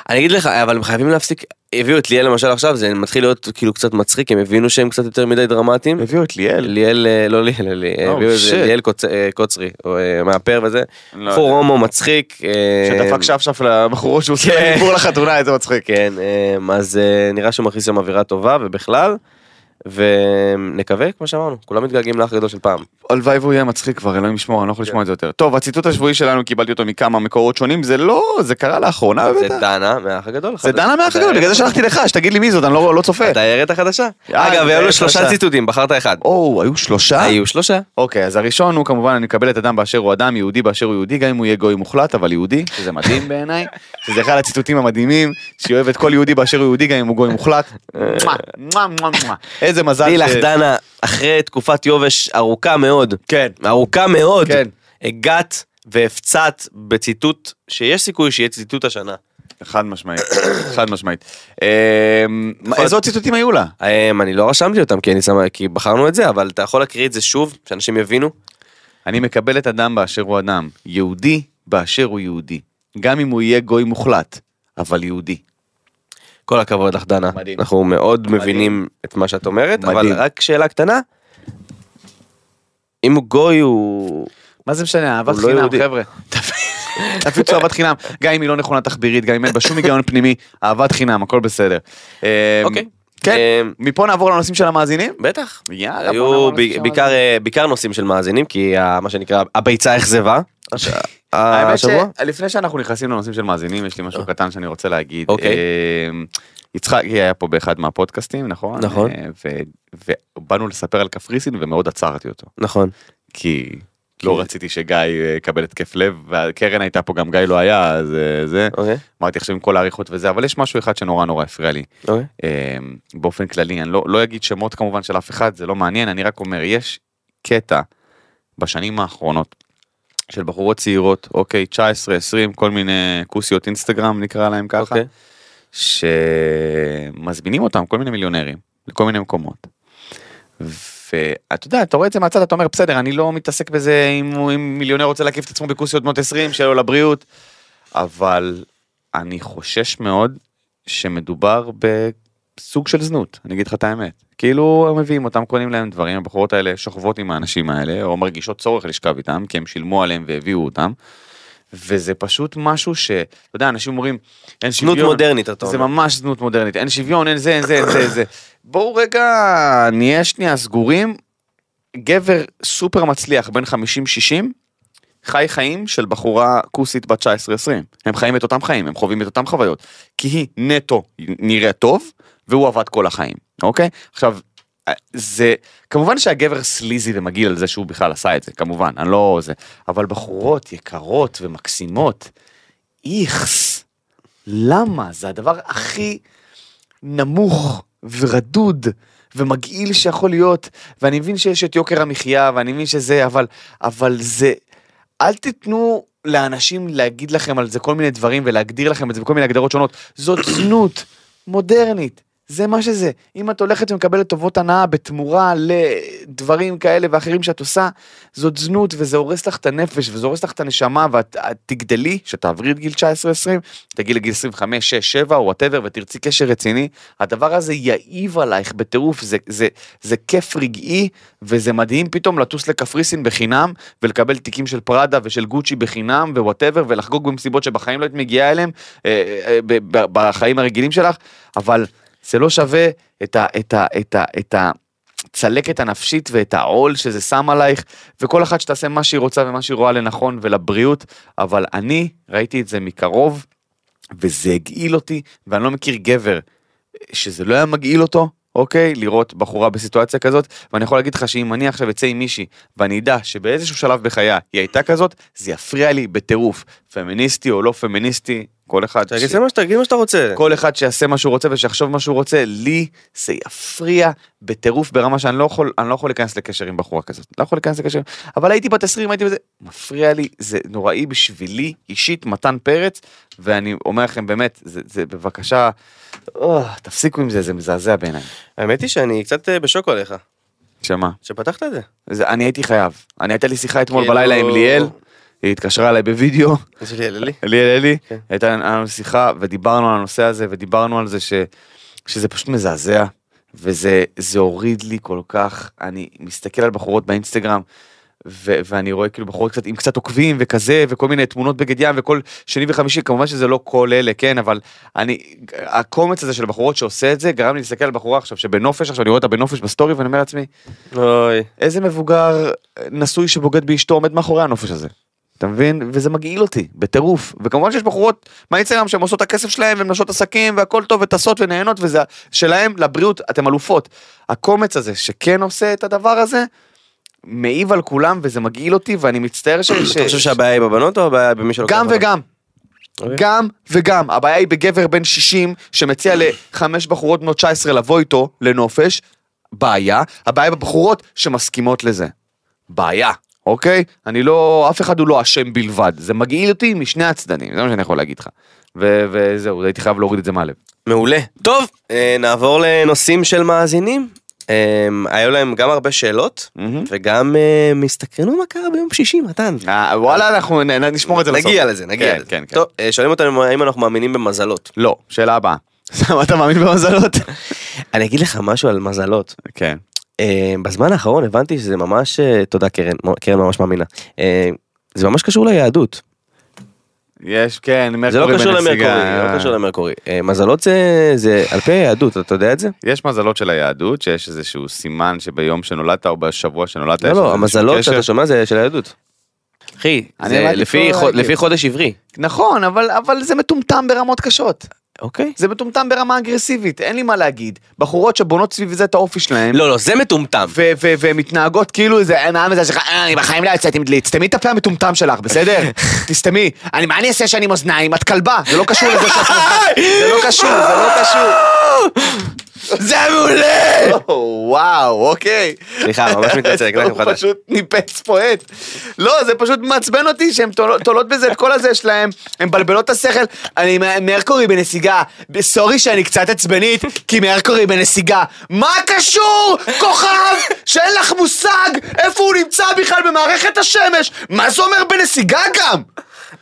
C: אני אגיד לך, אבל הם חייבים להפסיק. הביאו את ליאל למשל עכשיו, זה מתחיל להיות כאילו קצת מצחיק, הם הבינו שהם קצת יותר מדי דרמטיים.
B: הביאו את ליאל.
C: ליאל, אה, לא ליאל, אה, לי-
B: Oh,
C: הביאו את
B: shit.
C: זה, ליאל קוצ- אה, קוצרי, או, אה, מאפר וזה.
B: לא
C: בחור
B: יודע.
C: הומו מצחיק. אה,
B: שדפק שפשף לבחורות שהוא עושה
C: כן.
B: דיבור לחתונה, איזה מצחיק.
C: כן, אה, אז אה, נראה שהוא מכניס שם אווירה טובה ובכלל. ונקווה, כמו שאמרנו, כולם מתגעגעים לאח הגדול של פעם.
B: הלוואי והוא יהיה מצחיק כבר, אלוהים ישמור, אני לא יכול לשמוע את זה יותר. טוב, הציטוט השבועי שלנו, קיבלתי אותו מכמה מקורות שונים, זה לא, זה קרה לאחרונה,
C: זה
B: בטח.
C: דנה מהאח הגדול.
B: זה דנה מהחגגות,
C: אתה-
B: בגלל זה שלחתי לך, שתגיד לי מי זאת, אני לא לא צופה.
C: הדיירת החדשה.
B: אה,
C: אגב, היו לו
B: הדיירת
C: שלושה
B: החדשה.
C: ציטוטים, בחרת אחד.
B: או, היו שלושה?
C: היו שלושה.
B: אוקיי, אז הראשון הוא כמובן, אני מקבל את אדם באשר הוא אדם, יהודי באשר הוא יהודי, גם אם הוא יהיה גוי מוחלט, אבל יהודי, שזה מדהים בעיניי, שזה אחד הציטוטים המדהימים, שאוהב את כל יהודי באשר הוא יהודי, גם אם הוא גוי מוחלט. מואה, מואה, מואה, מואה. איזה מזל.
C: לילך
B: ש-
C: דנה, אחרי תקופת יובש ארוכה מאוד,
B: כן.
C: ארוכה מאוד,
B: כן.
C: הגעת והפצעת בציטוט שיש סיכוי שיהיה ציטוט השנה.
B: חד משמעית, חד משמעית. אמ, מה- איזה עוד ציטוטים היו לה?
C: אמ, אני לא רשמתי אותם כי אני שם, כי בחרנו את זה, אבל אתה יכול להקריא את זה שוב, שאנשים יבינו.
B: אני מקבל את אדם באשר הוא אדם, יהודי באשר הוא יהודי, גם אם הוא יהיה גוי מוחלט, אבל יהודי.
C: כל הכבוד לך דנה,
B: מדהים.
C: אנחנו מאוד מבינים את מה שאת אומרת, אבל
B: מדהים.
C: רק שאלה קטנה. אם הוא גוי הוא...
B: מה זה משנה, אהבת
C: הוא לא
B: חינם,
C: יהודי.
B: חבר'ה. תפיצו אהבת חינם, גם אם היא לא נכונה תחבירית, גם אם אין בה שום היגיון פנימי, אהבת חינם, הכל בסדר. אמ,
C: אוקיי.
B: כן,
C: אמ,
B: מפה נעבור לנושאים של המאזינים?
C: בטח.
B: יאללה, בוא נעבור
C: היו
B: לנושאים של
C: ב- בעיקר, אה, בעיקר נושאים של מאזינים, כי ה- מה שנקרא, הביצה אכזבה. הש-
B: אוקיי. האמת
C: השבוע?
B: שלפני שאנחנו נכנסים לנושאים של מאזינים, יש לי משהו קטן שאני רוצה להגיד.
C: אוקיי.
B: אמ, יצחקי היה פה באחד מהפודקאסטים, נכון?
C: נכון.
B: אה, ו- ובאנו לספר על קפריסין ומאוד עצרתי אותו.
C: נכון.
B: כי לא רציתי שגיא אה, יקבל התקף לב, והקרן הייתה פה, גם גיא לא היה, אז אה, זה.
C: אוקיי,
B: אמרתי עכשיו עם כל העריכות וזה, אבל יש משהו אחד שנורא נורא הפריע לי.
C: אוקיי.
B: אה, באופן כללי, אני לא, לא אגיד שמות כמובן של אף אחד, זה לא מעניין, אני רק אומר, יש קטע בשנים האחרונות של בחורות צעירות, אוקיי, 19, 20, כל מיני כוסיות אינסטגרם נקרא להם ככה,
C: אוקיי.
B: שמזמינים אותם, כל מיני מיליונרים, לכל מיני מקומות. ואתה יודע, אתה רואה את זה מהצד, אתה אומר, בסדר, אני לא מתעסק בזה אם, הוא- אם מיליונר רוצה להקיף את עצמו בכוסיות בנות 20, שיהיה לו לבריאות, אבל אני חושש מאוד שמדובר בסוג של זנות, אני אגיד לך את האמת. כאילו הם מביאים אותם, קונים להם דברים, הבחורות האלה שוכבות עם האנשים האלה, או מרגישות צורך לשכב איתם, כי הם שילמו עליהם והביאו אותם. וזה פשוט משהו ש... אתה יודע, אנשים אומרים, אין שוויון.
C: זנות מודרנית, אתה
B: זה
C: אומר.
B: ממש זנות מודרנית, אין שוויון, אין זה, אין זה, אין זה, אין זה. בואו רגע נהיה שנייה סגורים. גבר סופר מצליח, בן 50-60, חי חיים של בחורה כוסית בת 19-20. הם חיים את אותם חיים, הם חווים את אותם חוויות. כי היא נטו נראית טוב, והוא עבד כל החיים, אוקיי? עכשיו, אה, זה... כמובן שהגבר סליזי ומגעיל על זה שהוא בכלל עשה את זה, כמובן, אני לא... זה... אבל בחורות יקרות ומקסימות, איכס. למה? זה הדבר הכי נמוך ורדוד ומגעיל שיכול להיות, ואני מבין שיש את יוקר המחיה, ואני מבין שזה, אבל, אבל זה, אל תיתנו לאנשים להגיד לכם על זה כל מיני דברים ולהגדיר לכם את זה בכל מיני הגדרות שונות. זאת זנות מודרנית. זה מה שזה, אם את הולכת ומקבלת טובות הנאה בתמורה לדברים כאלה ואחרים שאת עושה, זאת זנות וזה הורס לך את הנפש וזה הורס לך את הנשמה ואת את תגדלי, שתעברי את גיל 19-20, תגיעי לגיל 25, 6, 7, וואטאבר, ותרצי קשר רציני, הדבר הזה יעיב עלייך בטירוף, זה, זה, זה כיף רגעי, וזה מדהים פתאום לטוס לקפריסין בחינם, ולקבל תיקים של פראדה ושל גוצ'י בחינם, ווואטאבר, ולחגוג במסיבות שבחיים לא היית מגיעה אליהם, אה, אה, אה, ב- ב- בחיים הרגילים שלך, אבל זה לא שווה את ה... את ה, את ה, את ה הצלקת הנפשית ואת העול שזה שם עלייך, וכל אחת שתעשה מה שהיא רוצה ומה שהיא רואה לנכון ולבריאות, אבל אני ראיתי את זה מקרוב, וזה הגעיל אותי, ואני לא מכיר גבר שזה לא היה מגעיל אותו, אוקיי? לראות בחורה בסיטואציה כזאת, ואני יכול להגיד לך שאם אני עכשיו אצא עם מישהי, ואני אדע שבאיזשהו שלב בחייה היא הייתה כזאת, זה יפריע לי בטירוף. פמיניסטי או לא פמיניסטי, כל אחד... ש-
C: תגיד מה שאתה- תגיד מה שאתה רוצה.
B: כל אחד שיעשה מה שהוא רוצה ושיחשוב מה שהוא רוצה, לי זה יפריע בטירוף ברמה שאני לא יכול, אני לא יכול להיכנס לקשר עם בחורה כזאת. לא יכול להיכנס לקשר, אבל הייתי בת 20, הייתי בזה, מפריע לי, זה נוראי בשבילי, אישית, מתן פרץ, ואני אומר לכם באמת, זה, זה בבקשה, אה, תפסיקו עם זה, זה מזעזע בעיניי.
C: האמת היא שאני קצת אה, בשוק עליך,
B: שמע,
C: שפתחת את זה.
B: זה, אני הייתי חייב, אני הייתה לי שיחה אתמול
C: כאילו-
B: בלילה עם ליאל, היא התקשרה אליי בווידאו,
C: זה לי, לי.
B: ליאל אלי,
C: כן.
B: הייתה לנו שיחה ודיברנו על הנושא הזה ודיברנו על זה ש, שזה פשוט מזעזע וזה זה הוריד לי כל כך, אני מסתכל על בחורות באינסטגרם ו, ואני רואה כאילו בחורות קצת עם קצת עוקבים וכזה וכל מיני תמונות בגד ים וכל שני וחמישי כמובן שזה לא כל אלה כן אבל אני הקומץ הזה של בחורות שעושה את זה גרם לי להסתכל על בחורה עכשיו שבנופש עכשיו אני רואה אותה בנופש בסטורי ואני אומר לעצמי
C: אוי.
B: איזה מבוגר נשוי שבוגד באשתו עומד מאחורי הנופש הזה. אתה מבין? וזה מגעיל אותי, בטירוף. וכמובן שיש בחורות מהאינסטגרם שהן עושות את הכסף שלהן והן נשות עסקים והכל טוב וטסות ונהנות וזה שלהם לבריאות, אתם אלופות. הקומץ הזה שכן עושה את הדבר הזה, מעיב על כולם וזה מגעיל אותי ואני מצטער ש...
C: אתה חושב שהבעיה היא בבנות או הבעיה במי שלוקח?
B: אה, גם
C: אותם?
B: וגם.
C: אוקיי.
B: גם וגם, הבעיה היא בגבר בן 60 שמציע לחמש בחורות בנות 19 לבוא איתו לנופש, בעיה, הבעיה היא בבחורות שמסכימות לזה. בעיה, אוקיי? אני לא, אף אחד הוא לא אשם בלבד, זה מגעיל אותי משני הצדדים, זה מה שאני יכול להגיד לך. ו- וזהו, הייתי חייב להוריד את זה מהלב.
C: מעולה. טוב, אה, נעבור לנושאים של מאזינים. אה, היו להם גם הרבה שאלות,
B: מהמם.
C: וגם אה, הסתקרנו מה קרה ביום שישי, מתן.
B: אה, וואלה, אנחנו נ- נ- נשמור את זה לסוף.
C: נגיע לזה, נגיע
B: כן,
C: לזה.
B: כן, כן.
C: טוב, אה, שואלים אותנו האם אנחנו מאמינים במזלות.
B: לא, שאלה הבאה. למה אתה מאמין במזלות?
C: אני אגיד לך משהו על מזלות.
B: כן.
C: אה, בזמן האחרון הבנתי שזה ממש, אה, תודה קרן, מ- קרן ממש מאמינה. אה, זה ממש קשור ליהדות.
B: יש, כן, מרקורי בן
C: זה לא קשור למרקורי,
B: נסיגה.
C: לא קשור למרקורי. אה, מזלות זה, זה על פי היהדות, אתה יודע את זה?
B: יש מזלות של היהדות, שיש איזשהו סימן שביום שנולדת או בשבוע שנולדת.
C: לא,
B: יש
C: לא,
B: איזשהו
C: המזלות
B: קשר.
C: שאתה שומע זה של היהדות. אחי,
B: אני
C: זה
B: הבנתי
C: לפי
B: כל
C: חו-
B: הרגיל.
C: לפי חודש עברי.
B: נכון, אבל, אבל זה מטומטם ברמות קשות.
C: אוקיי.
B: זה מטומטם ברמה אגרסיבית, אין לי מה להגיד. בחורות שבונות סביב זה את האופי שלהן,
C: לא, לא, זה מטומטם.
B: ו- ו- ומתנהגות כאילו איזה אין העם הזה שלך, "אה, אני בחיים לא יצאתי עם דלי, תסתמי את הפה המטומטם שלך, בסדר? תסתמי. אני, מה אני אעשה שאני עם אוזניים? את כלבה, זה לא קשור לזה שאת... זה לא קשור, זה לא קשור.
C: זה מעולה!
B: או, וואו, אוקיי.
C: סליחה, ממש מתנצל, הקלטתי
B: הוא
C: מחדש.
B: פשוט ניפץ פה עט. לא, זה פשוט מעצבן אותי שהן תול- תולות בזה את כל הזה שלהם, הן מבלבלות את השכל. אני מ- מרקורי בנסיגה, סורי שאני קצת עצבנית, כי מרקורי בנסיגה. מה קשור כוכב שאין לך מושג איפה הוא נמצא בכלל במערכת השמש? מה זה אומר בנסיגה גם?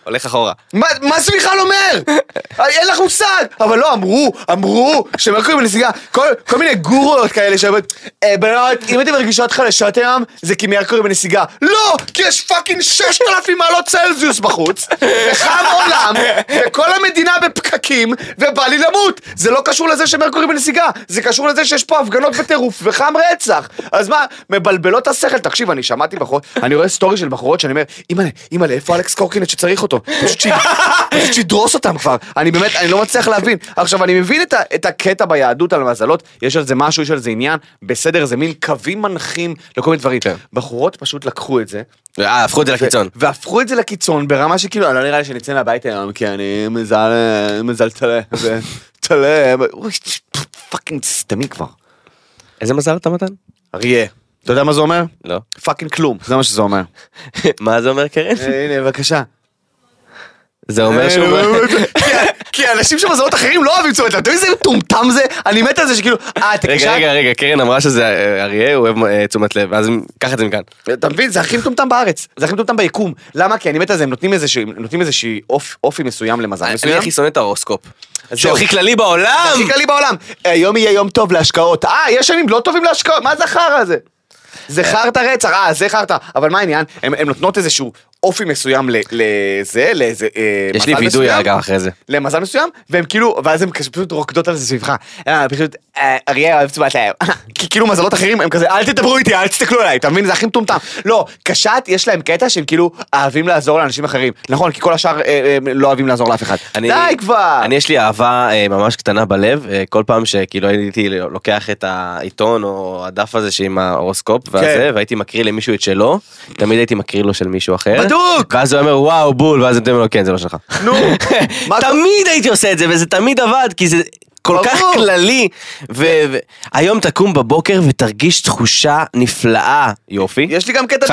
C: הולך אחורה.
B: מה, מה זה בכלל אומר? אה, אין לך מושג! אבל לא, אמרו, אמרו, שמרקורי בנסיגה, כל, כל מיני גורויות כאלה שאומרות, "אה, בנות, אם אתן מרגישות חלשות היום, זה כי מרקורי בנסיגה. לא! כי יש פאקינג 6,000 מעלות צלזיוס בחוץ, וחם עולם, וכל המדינה בפקקים, ובא לי למות! זה לא קשור לזה שמרקורי בנסיגה, זה קשור לזה שיש פה הפגנות בטירוף וחם רצח. אז מה, מבלבלות את השכל. תקשיב, אני שמעתי בחורות, אני רואה סטורי של בחורות שאני אומר, אימא'לה, אימא'לה, איפה אלכס קורקינט שצריך אותו? פשוט שיד- פשוט שידרוס אותם כבר. אני באמת, אני לא מצליח להבין. עכשיו, אני מבין את, ה, את הקטע ביהדות על מזלות, יש על זה משהו, יש על זה עניין, בסדר, זה מין קווים מנחים לכל מיני דברים.
C: כן.
B: בחורות פשוט לקחו את זה,
C: אה, הפכו את זה לקיצון.
B: והפכו את זה לקיצון ברמה שכאילו, אני לא נראה לי שנצא מהבית היום, כי אני מזל, אה, מזל טלה, ו- טלה, אוי, פאקינג סתמי כבר.
C: איזה מזל אתה מתן?
B: אריה, אתה יודע מה זה אומר?
C: לא.
B: פאקינג כלום, זה מה שזה אומר.
C: מה זה אומר קרן?
B: אה, הנה, בבקשה.
C: זה
B: אה,
C: אומר שהוא...
B: כי- כי אנשים שמזלות אחרים לא אוהבים תשומת לב, אתה מבין איזה מטומטם זה? אני מת על זה שכאילו, אה,
C: רגע,
B: תקשיב,
C: רגע, רגע, קרן אמרה שזה אה, אריה, הוא אוהב אה, תשומת לב, אז קח את זה מכאן.
B: אתה מבין, זה הכי מטומטם בארץ, זה הכי מטומטם ביקום. למה? כי אני מת על זה, הם נותנים איזה שהם נותנים איזה שהיא אופ- אופי מסוים למזל
C: אני
B: מסוים.
C: הכי שונא את ההורוסקופ. שהוא
B: זהו.
C: הכי כללי בעולם!
B: הכי כללי בעולם. היום יהיה יום טוב להשקעות. אה, יש ימים לא טובים להשקעות, מה זה החרא הזה? זה חרטא רצח, אה, זה חרטא. אבל מה העניין? הן נותנות איזשהו אופי מסוים ל- לזה, לאיזה... אה,
C: יש לי
B: מזל
C: וידוי
B: מסוים.
C: אגב אחרי זה.
B: למזל מסוים, והם כאילו, ואז הם כזה פשוט רוקדות על זה סביבך. אה, פשוט, אה, אריה אוהב תשומת לב. כי כאילו מזלות אחרים הם כזה, אל תדברו איתי, אל תסתכלו עליי, אתה מבין? זה הכי מטומטם. לא, קשת, יש להם קטע שהם כאילו אוהבים לעזור לאנשים אחרים. נכון, כי כל השאר אה, אה, לא אוהבים לעזור לאף אחד.
C: אני-
B: די כבר!
C: אני יש לי אהבה אה, ממש קטנה בלב, אה, כל פעם שכאילו הייתי לוקח את העיתון או הדף הזה שעם ההורוסקופ
B: כן.
C: והזה, והייתי מקריא למישהו את שלו, תמיד הייתי מקריא לו של מישהו אחר.
B: בדוק!
C: ואז הוא אומר וואו בול, ואז הייתי אומר לו כן זה לא שלך.
B: נו, מה אתה...
C: תמיד הייתי עושה את זה וזה תמיד עבד כי זה כל כך
B: ברור.
C: כללי. כן. והיום תקום בבוקר ותרגיש תחושה נפלאה. יופי.
B: יש לי גם קטע
C: 50-50?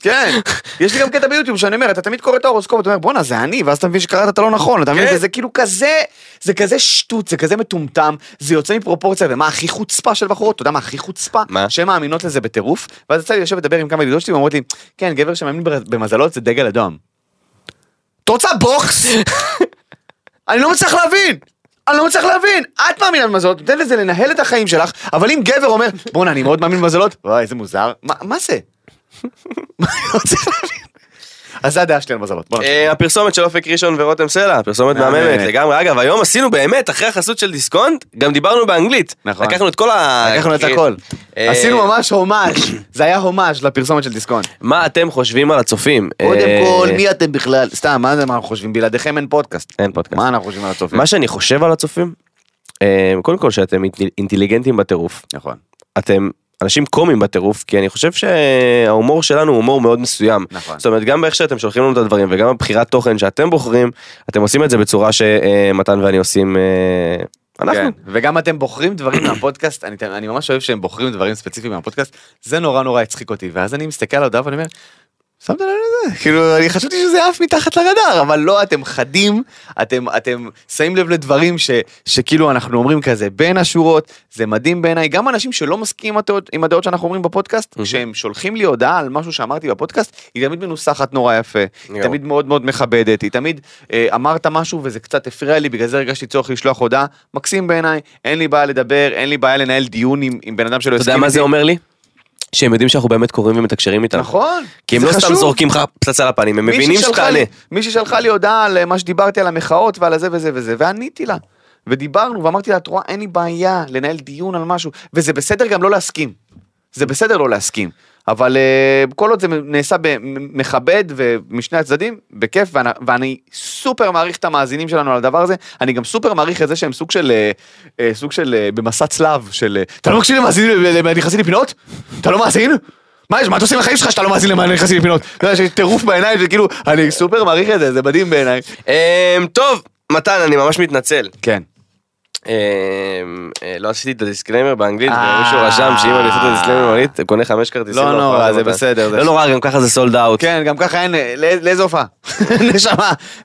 B: כן. יש לי גם קטע ביוטיוב שאני אומר, אתה תמיד קורא את ההורוסקופ, אתה אומר, בואנה, זה אני, ואז אתה מבין שקראת את הלא נכון, אתה מבין?
C: כן.
B: וזה כאילו כזה, זה כזה שטות, זה כזה מטומטם, זה יוצא מפרופורציה, ומה הכי חוצפה של בחורות, אתה יודע מה הכי חוצפה?
C: מה?
B: שהן מאמינות לזה בטירוף, ואז יצא לי לשבת לדבר עם כמה ידידות שלי, ואומרות לי, כן, גבר שמאמין בר- במזלות זה דגל אדום. את רוצה בוקס? אני לא מצליח להבין. אני לא מצליח להבין, את מאמינה במזלות, נותנת לזה לנהל את החיים שלך, אבל אם גבר אומר, בואנה, אני מאוד מאמין במזלות, וואי, איזה מוזר, מה- מה זה? מה, אני לא מצליח להבין. אז זה הדעה שלי על מזלות, בוא נתחיל.
C: אה, הפרסומת של אופק ראשון ורותם סלע, פרסומת מהממת
B: מהממת.
C: לגמרי. אגב, היום עשינו באמת, אחרי החסות של דיסקונט, גם דיברנו באנגלית.
B: נכון.
C: לקחנו את כל ה...
B: לקחנו את הכל.
C: אה,
B: עשינו ממש הומאז', זה היה הומאז' לפרסומת של דיסקונט.
C: מה אתם חושבים על הצופים?
B: קודם
C: אה,
B: כל, מי אתם בכלל? סתם, מה זה- מה אנחנו חושבים? בלעדיכם אין פודקאסט.
C: אין פודקאסט.
B: מה אנחנו חושבים על הצופים?
C: מה שאני חושב על הצופים, אה, קודם כל שאתם אינטל- אינטליגנטים בטירוף.
B: נכון.
C: אתם אנשים קומיים בטירוף, כי אני חושב שההומור שלנו הוא הומור מאוד מסוים.
B: נכון.
C: זאת אומרת, גם באיך שאתם שולחים לנו את הדברים וגם בבחירת תוכן שאתם בוחרים, אתם עושים את זה בצורה שמתן ואני עושים... אה, אנחנו.
B: כן. וגם אתם בוחרים דברים מהפודקאסט, אני, אני ממש אוהב שהם בוחרים דברים ספציפיים מהפודקאסט, זה נורא נורא הצחיק אותי, ואז אני מסתכל על ההודעה ואני אומר, שמת לב לזה, כאילו, אני חשבתי שזה עף מתחת לרדאר, אבל לא, אתם חדים, אתם, אתם שמים לב לדברים ש, שכאילו אנחנו אומרים כזה בין השורות, זה מדהים בעיניי, גם אנשים שלא מסכימים עם הדעות, עם הדעות שאנחנו אומרים בפודקאסט, כשהם שולחים לי הודעה על משהו שאמרתי בפודקאסט, היא תמיד מנוסחת נורא יפה, היא
C: יואו.
B: תמיד מאוד מאוד מכבדת, היא תמיד אה, אמרת משהו וזה קצת הפריע לי, בגלל זה הרגשתי צורך לשלוח הודעה, מקסים בעיניי, אין לי בעיה לדבר, אין לי בעיה לנהל דיון עם, עם בן אדם שלא
C: אתה יודע
B: הסכים
C: מה זה אומר לי? שהם יודעים שאנחנו באמת קוראים ומתקשרים איתם.
B: נכון,
C: כי הם
B: זה
C: לא סתם
B: חשוב.
C: זורקים לך פצצה לפנים, הם
B: מישהי
C: מבינים
B: שלחה
C: שתענה.
B: לי- מישהי שלחה לי הודעה על אה, מה שדיברתי על המחאות ועל הזה וזה וזה, ועניתי לה. ודיברנו, ואמרתי לה, את רואה, אין לי בעיה לנהל דיון על משהו, וזה בסדר גם לא להסכים. זה בסדר לא להסכים. אבל אה, כל עוד זה נעשה במכבד ומשני הצדדים, בכיף, ואני, ואני סופר מעריך את המאזינים שלנו על הדבר הזה, אני גם סופר מעריך את זה שהם סוג של, אה, אה, סוג של, אה, במסע צלב, של, אה, אתה לא מקשיב למאזינים, למה נכנסים לפינות? אתה לא מאזין? מה יש, מה אתה עושה עם החיים שלך שאתה לא מאזין למה נכנסים לפינות? אתה יודע, שיש טירוף בעיניים, זה כאילו, אני סופר מעריך את זה, זה מדהים בעיניי.
C: אמ, טוב, מתן, אני ממש מתנצל.
B: כן.
C: אמ, אה, לא עשיתי את הדיסקליימר באנגלית,
B: אה.
C: ומישהו רשם שאם אני עושה את הדיסקליימר באנגלית, אתה קונה חמש כרטיסים.
B: לא
C: להופעה
B: נורא,
C: של
B: זה
C: מתן.
B: בסדר, זה-
C: לא נורא, גם ככה זה סולד אאוט.
B: כן, גם ככה אין, אה, לא- לאיזה הופעה? נשמה,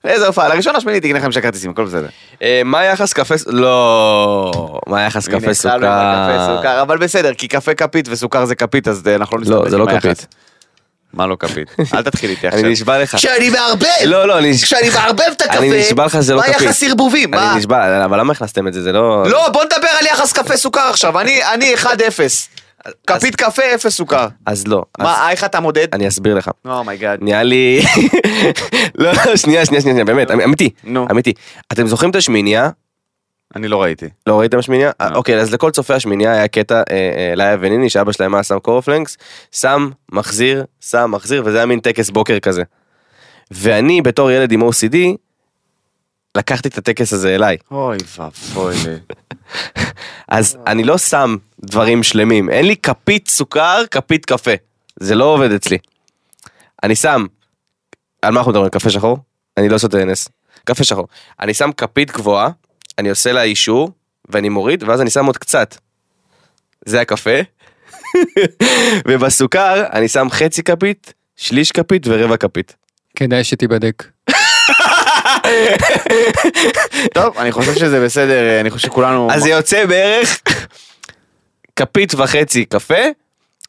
B: לא לאיזה הופעה? לראשון השמיני תקנה חמישה כרטיסים, הכל בסדר.
C: אה, מה יחס קפה... ס- לא, מה יחס
B: הנה,
C: קפה
B: התחלנו עם הקפה
C: סוכר?
B: סוכר, אבל בסדר, כי קפה כפית וסוכר זה כפית, אז אה, אנחנו לא
C: לא,
B: נסתפק
C: זה לא
B: עם היחס.
C: כפית.
B: מה לא כפית? אל תתחיל איתי עכשיו.
C: אני נשבע לך.
B: כשאני מערבב!
C: לא, לא, אני...
B: כשאני מערבב את הקפה,
C: אני נשבע לך שזה לא
B: מה
C: כפית.
B: יחס ערבובים? מה?
C: אני נשבע, אבל למה הכנסתם את זה? זה לא...
B: לא, בוא נדבר על יחס קפה סוכר עכשיו, אני- אני 1-0. כפית קפה, 0 סוכר.
C: אז לא. אז
B: מה, איך אתה מודד? Oh
C: אני אסביר לך.
B: אומייגאד.
C: נראה לי... לא, לא, שנייה, שנייה, שנייה, באמת, אמיתי.
B: נו.
C: אמיתי. אתם זוכרים את השמינייה?
B: אני לא ראיתי.
C: לא ראיתם שמיניה? אה,
B: לא.
C: אוקיי, אז לכל צופי השמיניה היה קטע אה, אה, לאיה וניני, שאבא שלהם היה שם קורפלנקס, שם, מחזיר, שם, מחזיר, וזה היה מין טקס בוקר כזה. ואני, בתור ילד עם OCD, לקחתי את הטקס הזה אליי.
B: אוי ואבוי. לי.
C: אז אני לא שם דברים שלמים, אין לי כפית סוכר, כפית קפה. זה לא עובד אצלי. אני שם, על מה אנחנו מדברים? קפה שחור? אני לא שותה אנס. קפה שחור. אני שם כפית גבוהה, אני עושה לה אישור, ואני מוריד, ואז אני שם עוד קצת. זה הקפה. ובסוכר אני שם חצי כפית, שליש כפית ורבע כפית.
D: כדאי שתיבדק.
B: טוב, אני חושב שזה בסדר, אה, אני חושב שכולנו...
C: אז זה יוצא בערך כפית וחצי קפה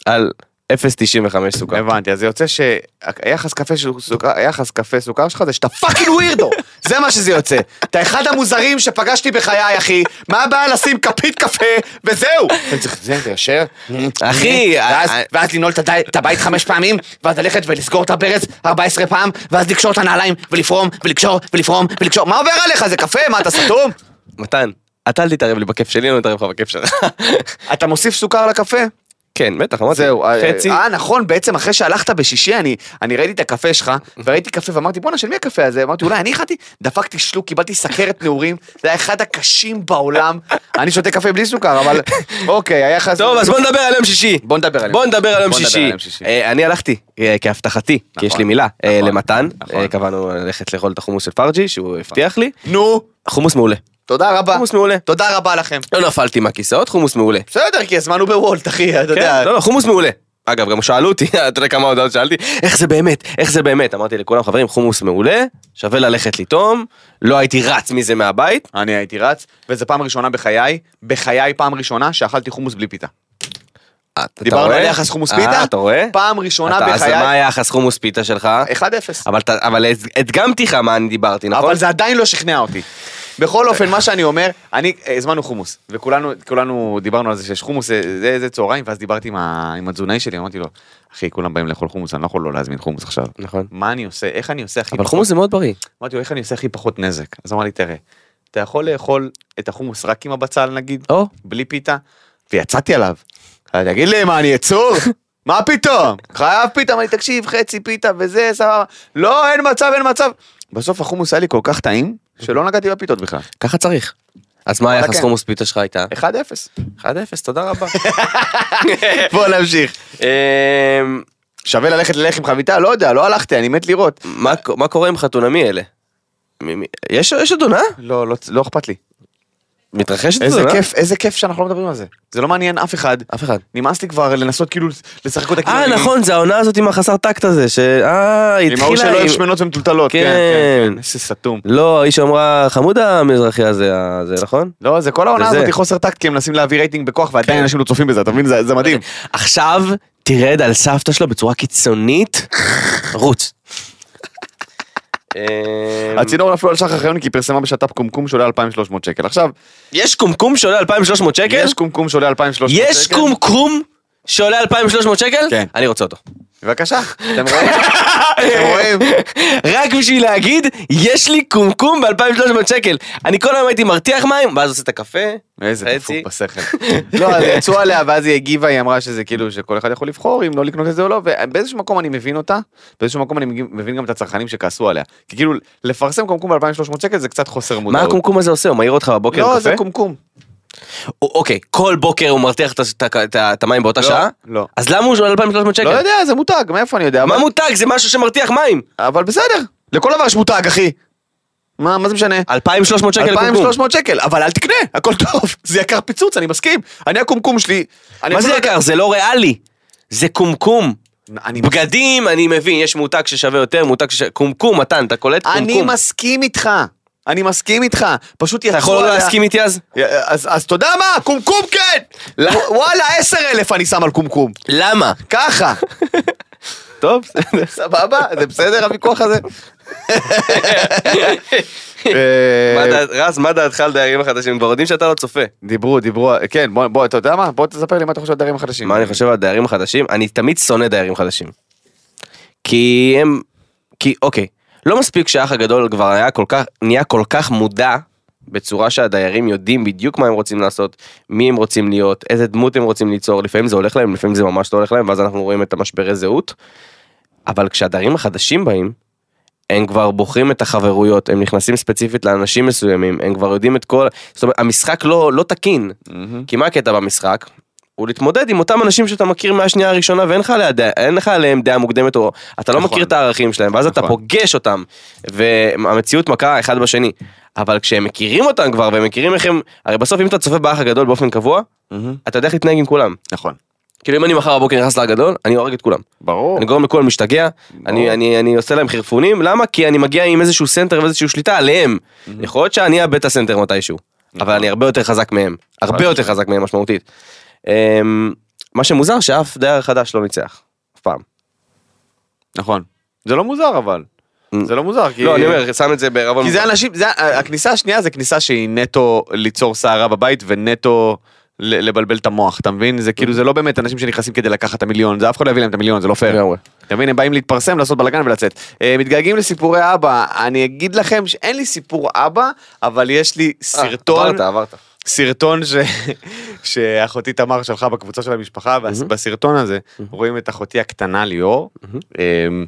C: על 0.95 סוכר.
B: הבנתי, אז זה יוצא שהיחס קפה, של סוכר, היחס קפה סוכר שלך זה שאתה פאקינג ווירדו, זה מה שזה יוצא. אתה אחד המוזרים שפגשתי בחיי, אחי, מה הבעיה לשים כפית קפה, וזהו. אתה צריך, זה, אתה ישר?
C: אחי,
B: ואז-
C: אה,
B: ואז לנעול את הדי- את הבית חמש פעמים, ואז ללכת ולסגור את הברז 14 פעם, ואז לקשור את הנעליים, ולפרום, ולקשור, ולפרום, ולקשור, מה עובר עליך? זה קפה? מה, אתה סתום?
C: מתן, אתה אל תתערב לי בכיף שלי, אני לא מתערב לך בכיף שלך.
B: אתה מוסיף סוכר לקפה?
C: כן, בטח, אמרתי.
B: זהו,
C: חצי.
B: חצי. אה, נכון, בעצם אחרי שהלכת בשישי, אני, אני ראיתי את הקפה שלך, וראיתי קפה ואמרתי, בואנה, של מי הקפה הזה? אמרתי, אולי אני איחדתי? דפקתי שלוק, קיבלתי סכרת נעורים, זה היה אחד הקשים בעולם. אני שותה קפה בלי סוכר, אבל אוקיי, היה חס...
C: טוב, אז בוא נדבר על יום שישי.
B: בוא נדבר עליהם.
C: בוא נדבר על יום
B: בוא נדבר
C: שישי.
B: על יום שישי.
C: אה, אני הלכתי, אה, כהבטחתי, כי יש לי מילה, אה,
B: נכון,
C: למתן.
B: נכון.
C: אה, קבענו ללכת לאכול את החומוס של פרג'י, שהוא הבטיח לי.
B: נו,
C: חומוס מעולה.
B: תודה רבה.
C: חומוס מעולה.
B: תודה רבה לכם.
C: לא נפלתי מהכיסאות, חומוס מעולה.
B: בסדר, כי הזמן הוא בוולט, אחי, אתה יודע.
C: כן, לא, לא, חומוס מעולה. אגב, גם שאלו אותי, אתה יודע כמה הודעות שאלתי, איך זה באמת, איך זה באמת. אמרתי לכולם, חברים, חומוס מעולה, שווה ללכת לטעום, לא הייתי רץ מזה מהבית.
B: אני הייתי רץ, וזו פעם ראשונה בחיי, בחיי פעם ראשונה שאכלתי חומוס בלי פיתה.
C: אה, אתה
B: דיברנו
C: רואה?
B: על יחס חומוס
C: אה,
B: פיתה,
C: אתה רואה?
B: פעם ראשונה
C: אתה- אז מה
B: בחיי,
C: היחס חומוס פיתה שלך?
B: 1-0.
C: אבל אתה- אבל הדגמתי לך מה אני דיברתי, נכון?
B: אבל זה עדיין לא שכנע אותי. בכל אופן, מה שאני אומר, אני, אה, הזמנו חומוס, וכולנו כולנו דיברנו על זה שיש חומוס, אה, זה, זה צהריים, ואז דיברתי עם, ה, עם התזונאי שלי, אמרתי לו, אחי, כולם באים לאכול חומוס, אני לא יכול לא להזמין חומוס עכשיו.
C: נכון.
B: מה אני עושה, איך אני עושה הכי
C: אבל
B: פחות-
C: חומוס זה מאוד בריא.
B: אמרתי לו, איך אני עושה הכי פחות נזק? אז הוא אמר לי, תראה, אתה יכול לאכול את החומוס רק עם הבצל נגיד,
C: או.
B: בלי פיתה, ויצאתי עליו. אז תגיד לי, מה, אני יצור? מה פתאום? חייב פיתה, אמר לי, תקשיב, חצי פיתה וזה, סבבה. לא, אין מצב, אין מצב. בסוף החומוס היה לי כל כך טעים, שלא נגעתי בפיתות בכלל.
C: ככה צריך. אז מה היחס
B: כן.
C: חומוס פיתה שלך הייתה?
B: 1-0.
C: 1-0, תודה רבה.
B: בוא נמשיך.
C: אמ,
B: שווה ללכת ללחם חביתה? לא יודע, לא הלכתי, אני מת לראות.
C: מה- מה קורה עם חתונמי אלה? מי- מי- יש יש עוד עונה?
B: לא, לא- לא אכפת לי.
C: מתרחשת עוד
B: איזה
C: עונה?
B: כיף, איזה כיף שאנחנו לא מדברים על זה. זה לא מעניין אף אחד.
C: אף אחד.
B: נמאס לי כבר לנסות כאילו לשחק אותה כאילו...
C: אה
B: אני-
C: נכון זה העונה הזאת עם החסר טקט הזה ש... אה היא
B: עם ההוא
C: התחילה
B: שלא
C: עם...
B: אוהב שמנות ומטולטלות. כן,
C: כן.
B: כן, כן. איזה סתום.
C: לא האיש שאמרה חמוד המזרחי הזה ה- זה נכון?
B: לא, זה כל העונה
C: וזה. כן.
B: הזאת היא חוסר טקט, כי הם מנסים להביא רייטינג בכוח, ועדיין אנשים לא צופים בזה, אתה מבין? זה זה מדהים.
C: אוקיי. עכשיו תרד על סבתא שלו בצורה קיצונית, רוץ. אמ,
B: הצינור נפלו על שחר חיוני כי היא פרסמה בשת"פ קומקום שעולה 2,300 שקל. עכשיו,
C: יש קומקום שעולה 2,300 שקל?
B: יש קומקום שעולה 2,300 שקל.
C: יש קומקום שעולה 2,300 שקל?
B: כן.
C: אני רוצה אותו.
B: בבקשה, אתם רואים? אתם רואים?
C: רק בשביל להגיד, יש לי קומקום ב-2,300 שקל. אני כל היום הייתי מרתיח מים, ואז עושה את הקפה,
B: איזה דפוק
C: חצי.
B: בשכל. לא, אז יצאו עליה, ואז היא הגיבה, היא אמרה שזה כאילו שכל אחד יכול לבחור אם לא לקנות את זה או לא, ובאיזשהו מקום אני מבין אותה, באיזשהו מקום אני מבין גם את הצרכנים שכעסו עליה. כי כאילו, לפרסם קומקום ב-2300 שקל זה קצת חוסר
C: מה
B: מודעות.
C: הקומקום הזה עושה? הוא מעיר אותך בבוקר עם
B: לא,
C: קפה?
B: זה קומקום.
C: א- אוקיי, כל בוקר הוא מרתיח את ה- את ה- את ה- את המים באותה
B: לא,
C: שעה?
B: לא.
C: אז למה הוא שואל 2,300
B: לא
C: שקל?
B: יודע, זה מותג, מאיפה אני יודע?
C: מה
B: אבל-
C: מותג? זה משהו שמרתיח מים.
B: אבל בסדר, לכל דבר יש מותג, אחי. מה מה זה משנה?
C: 2,300 שקל קומקום.
B: 2,300 שקל, אבל אל תקנה, הכל טוב, זה יקר פיצוץ, אני מסכים. אני הקומקום שלי. אני
C: מה זה
B: אפילו-
C: יקר? זה לא ריאלי. זה קומקום.
B: אני
C: בגדים, אני מבין, יש מותג ששווה יותר, מותג ששווה... קומקום, מתן, אתה קולט
B: אני
C: קומקום.
B: מסכים איתך. אני מסכים איתך. פשוט יצאו
C: אתה יכול לא
B: עליה-
C: להסכים איתי אז?
B: אז אז אתה יודע מה? קומקום כן!
C: לא.
B: ו- וואלה, עשר אלף אני שם על קומקום.
C: למה?
B: ככה.
C: טוב,
B: סבבה? זה בסדר הוויכוח הזה? אה,
C: מה דעת- רז, מה דעתך על דיירים החדשים? כבר יודעים שאתה לא צופה.
B: דיברו, דיברו, כן, בוא- בוא, אתה יודע מה? בוא תספר לי מה אתה חושב על דיירים החדשים.
C: מה אני חושב על דיירים חדשים? אני תמיד שונא דיירים חדשים. כי הם... כי, אוקיי. לא מספיק שהאח הגדול כבר היה כל כך, נהיה כל כך מודע בצורה שהדיירים יודעים בדיוק מה הם רוצים לעשות, מי הם רוצים להיות, איזה דמות הם רוצים ליצור, לפעמים זה הולך להם, לפעמים זה ממש לא הולך להם, ואז אנחנו רואים את המשברי זהות. אבל כשהדיירים החדשים באים, הם כבר בוחרים את החברויות, הם נכנסים ספציפית לאנשים מסוימים, הם כבר יודעים את כל... זאת אומרת, המשחק לא, לא תקין.
B: מהמם.
C: כי מה הקטע במשחק? הוא להתמודד עם אותם אנשים שאתה מכיר מהשנייה הראשונה ואין לך, עליה, דעה- אין לך עליהם דעה מוקדמת או אתה לא
B: נכון.
C: מכיר את הערכים שלהם ואז אתה
B: נכון.
C: פוגש אותם והמציאות מכה אחד בשני אבל כשהם מכירים אותם כבר והם מכירים איך הם הרי בסוף אם אתה צופה באח הגדול באופן קבוע
B: מהמם.
C: אתה יודע איך להתנהג עם כולם
B: נכון.
C: כאילו אם אני מחר בבוקר נכנס לאח הגדול אני הורג את כולם
B: ברור.
C: אני גורם לכולם להשתגע, אני, אני, אני עושה להם חרפונים, למה? כי אני מגיע עם איזשהו סנטר ואיזשהו שליטה עליהם. יכול להיות שאני אאבד את הסנטר מתישהו, אבל
B: נכון.
C: אני הרבה יותר חזק מהם, הרבה יותר חזק מהם משמעותית. אמ, מה שמוזר שאף דייר חדש לא ניצח, אף פעם.
B: נכון. זה לא מוזר אבל. זה לא מוזר, כי...
C: לא, אני אומר, שם את זה בערבון.
B: כי זה אנשים, זה, הכניסה השנייה זה כניסה שהיא נטו ליצור סערה בבית ונטו ל- לבלבל את המוח, אתה מבין? זה
C: Mm.
B: כאילו, זה לא באמת אנשים שנכנסים כדי לקחת את המיליון, זה אף אחד לא יביא להם את המיליון, זה לא פייר.
C: לגמרי.
B: אתה מבין, הם באים להתפרסם, לעשות בלאגן ולצאת. אה, מתגעגעים לסיפורי אבא, אני אגיד לכם שאין לי סיפור אבא, אבל יש
C: אה,
B: לי סרטון,
C: עברת, עברת.
B: סרטון ש... שאחותי תמר שלחה בקבוצה של המשפחה, ובסרטון הזה רואים את אחותי הקטנה ליאור, אמ,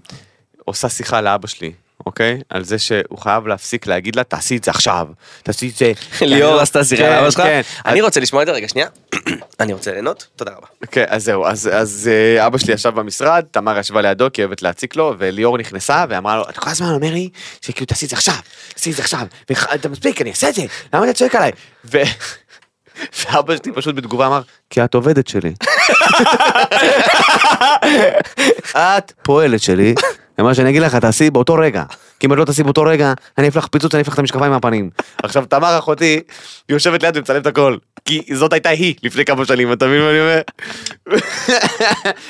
B: עושה שיחה לאבא שלי, אוקיי? על זה שהוא חייב להפסיק להגיד לה, תעשי את זה עכשיו, תעשי את זה.
C: ליאור עשתה סירה
B: כן,
C: לאבא שלך?
B: כן.
C: אני רוצה לשמוע את זה רגע, שנייה. אני רוצה ליהנות, תודה רבה.
B: כן, אז זהו, אז, אז אה, אבא שלי ישב במשרד, תמר ישבה לידו כי היא אוהבת להציק לו, וליאור נכנסה ואמרה לו, אתה כל הזמן אומר לי שכאילו תעשי את זה עכשיו, תעשי את זה עכשיו, ואתה מספיק, אני אעשה את זה, למה אתה צועק עליי? ו... ואבא שלי פשוט בתגובה אמר, כי את עובדת שלי. את פועלת שלי, ומה שאני אגיד לך, תעשי באותו רגע. כי אם את לא תעשי באותו רגע, אני אפלח פיצוץ, אני אפלח את המשקפיים מהפנים. עכשיו, תמר אחותי, יושבת ליד ומצלמת הכל. כי זאת הייתה היא לפני כמה שנים, אתה מבין מה אני אומר?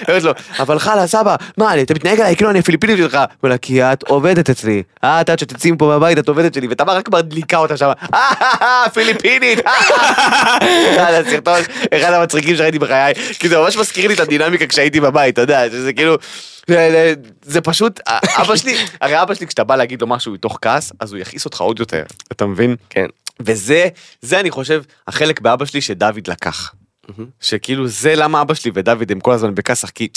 B: אומרת לו, אבל חלה, סבא, מה, אני- אתה מתנהג עליי כאילו אני הפיליפינית שלך. הוא אומר לה, כי את עובדת אצלי. אה, את, עד שתצאי מפה מהבית, את עובדת שלי. ותמר רק מדליקה אותה שם, "אה, פיליפינית, אה, אה." זה סרטון, אחד המצחיקים שראיתי בחיי. כי זה ממש מזכיר לי את הדינמיקה כשהייתי בבית, אתה יודע, שזה כאילו... זה- זה- זה פשוט, אבא שלי, הרי אבא שלי כשאתה בא להגיד לו משהו מתוך כעס, אז הוא יכעיס אותך עוד יותר, אתה מבין?
C: כן.
B: וזה, זה אני חושב, החלק באבא שלי שדוד לקח. שכאילו זה למה אבא שלי ודוד הם כל הזמן בכסח, כי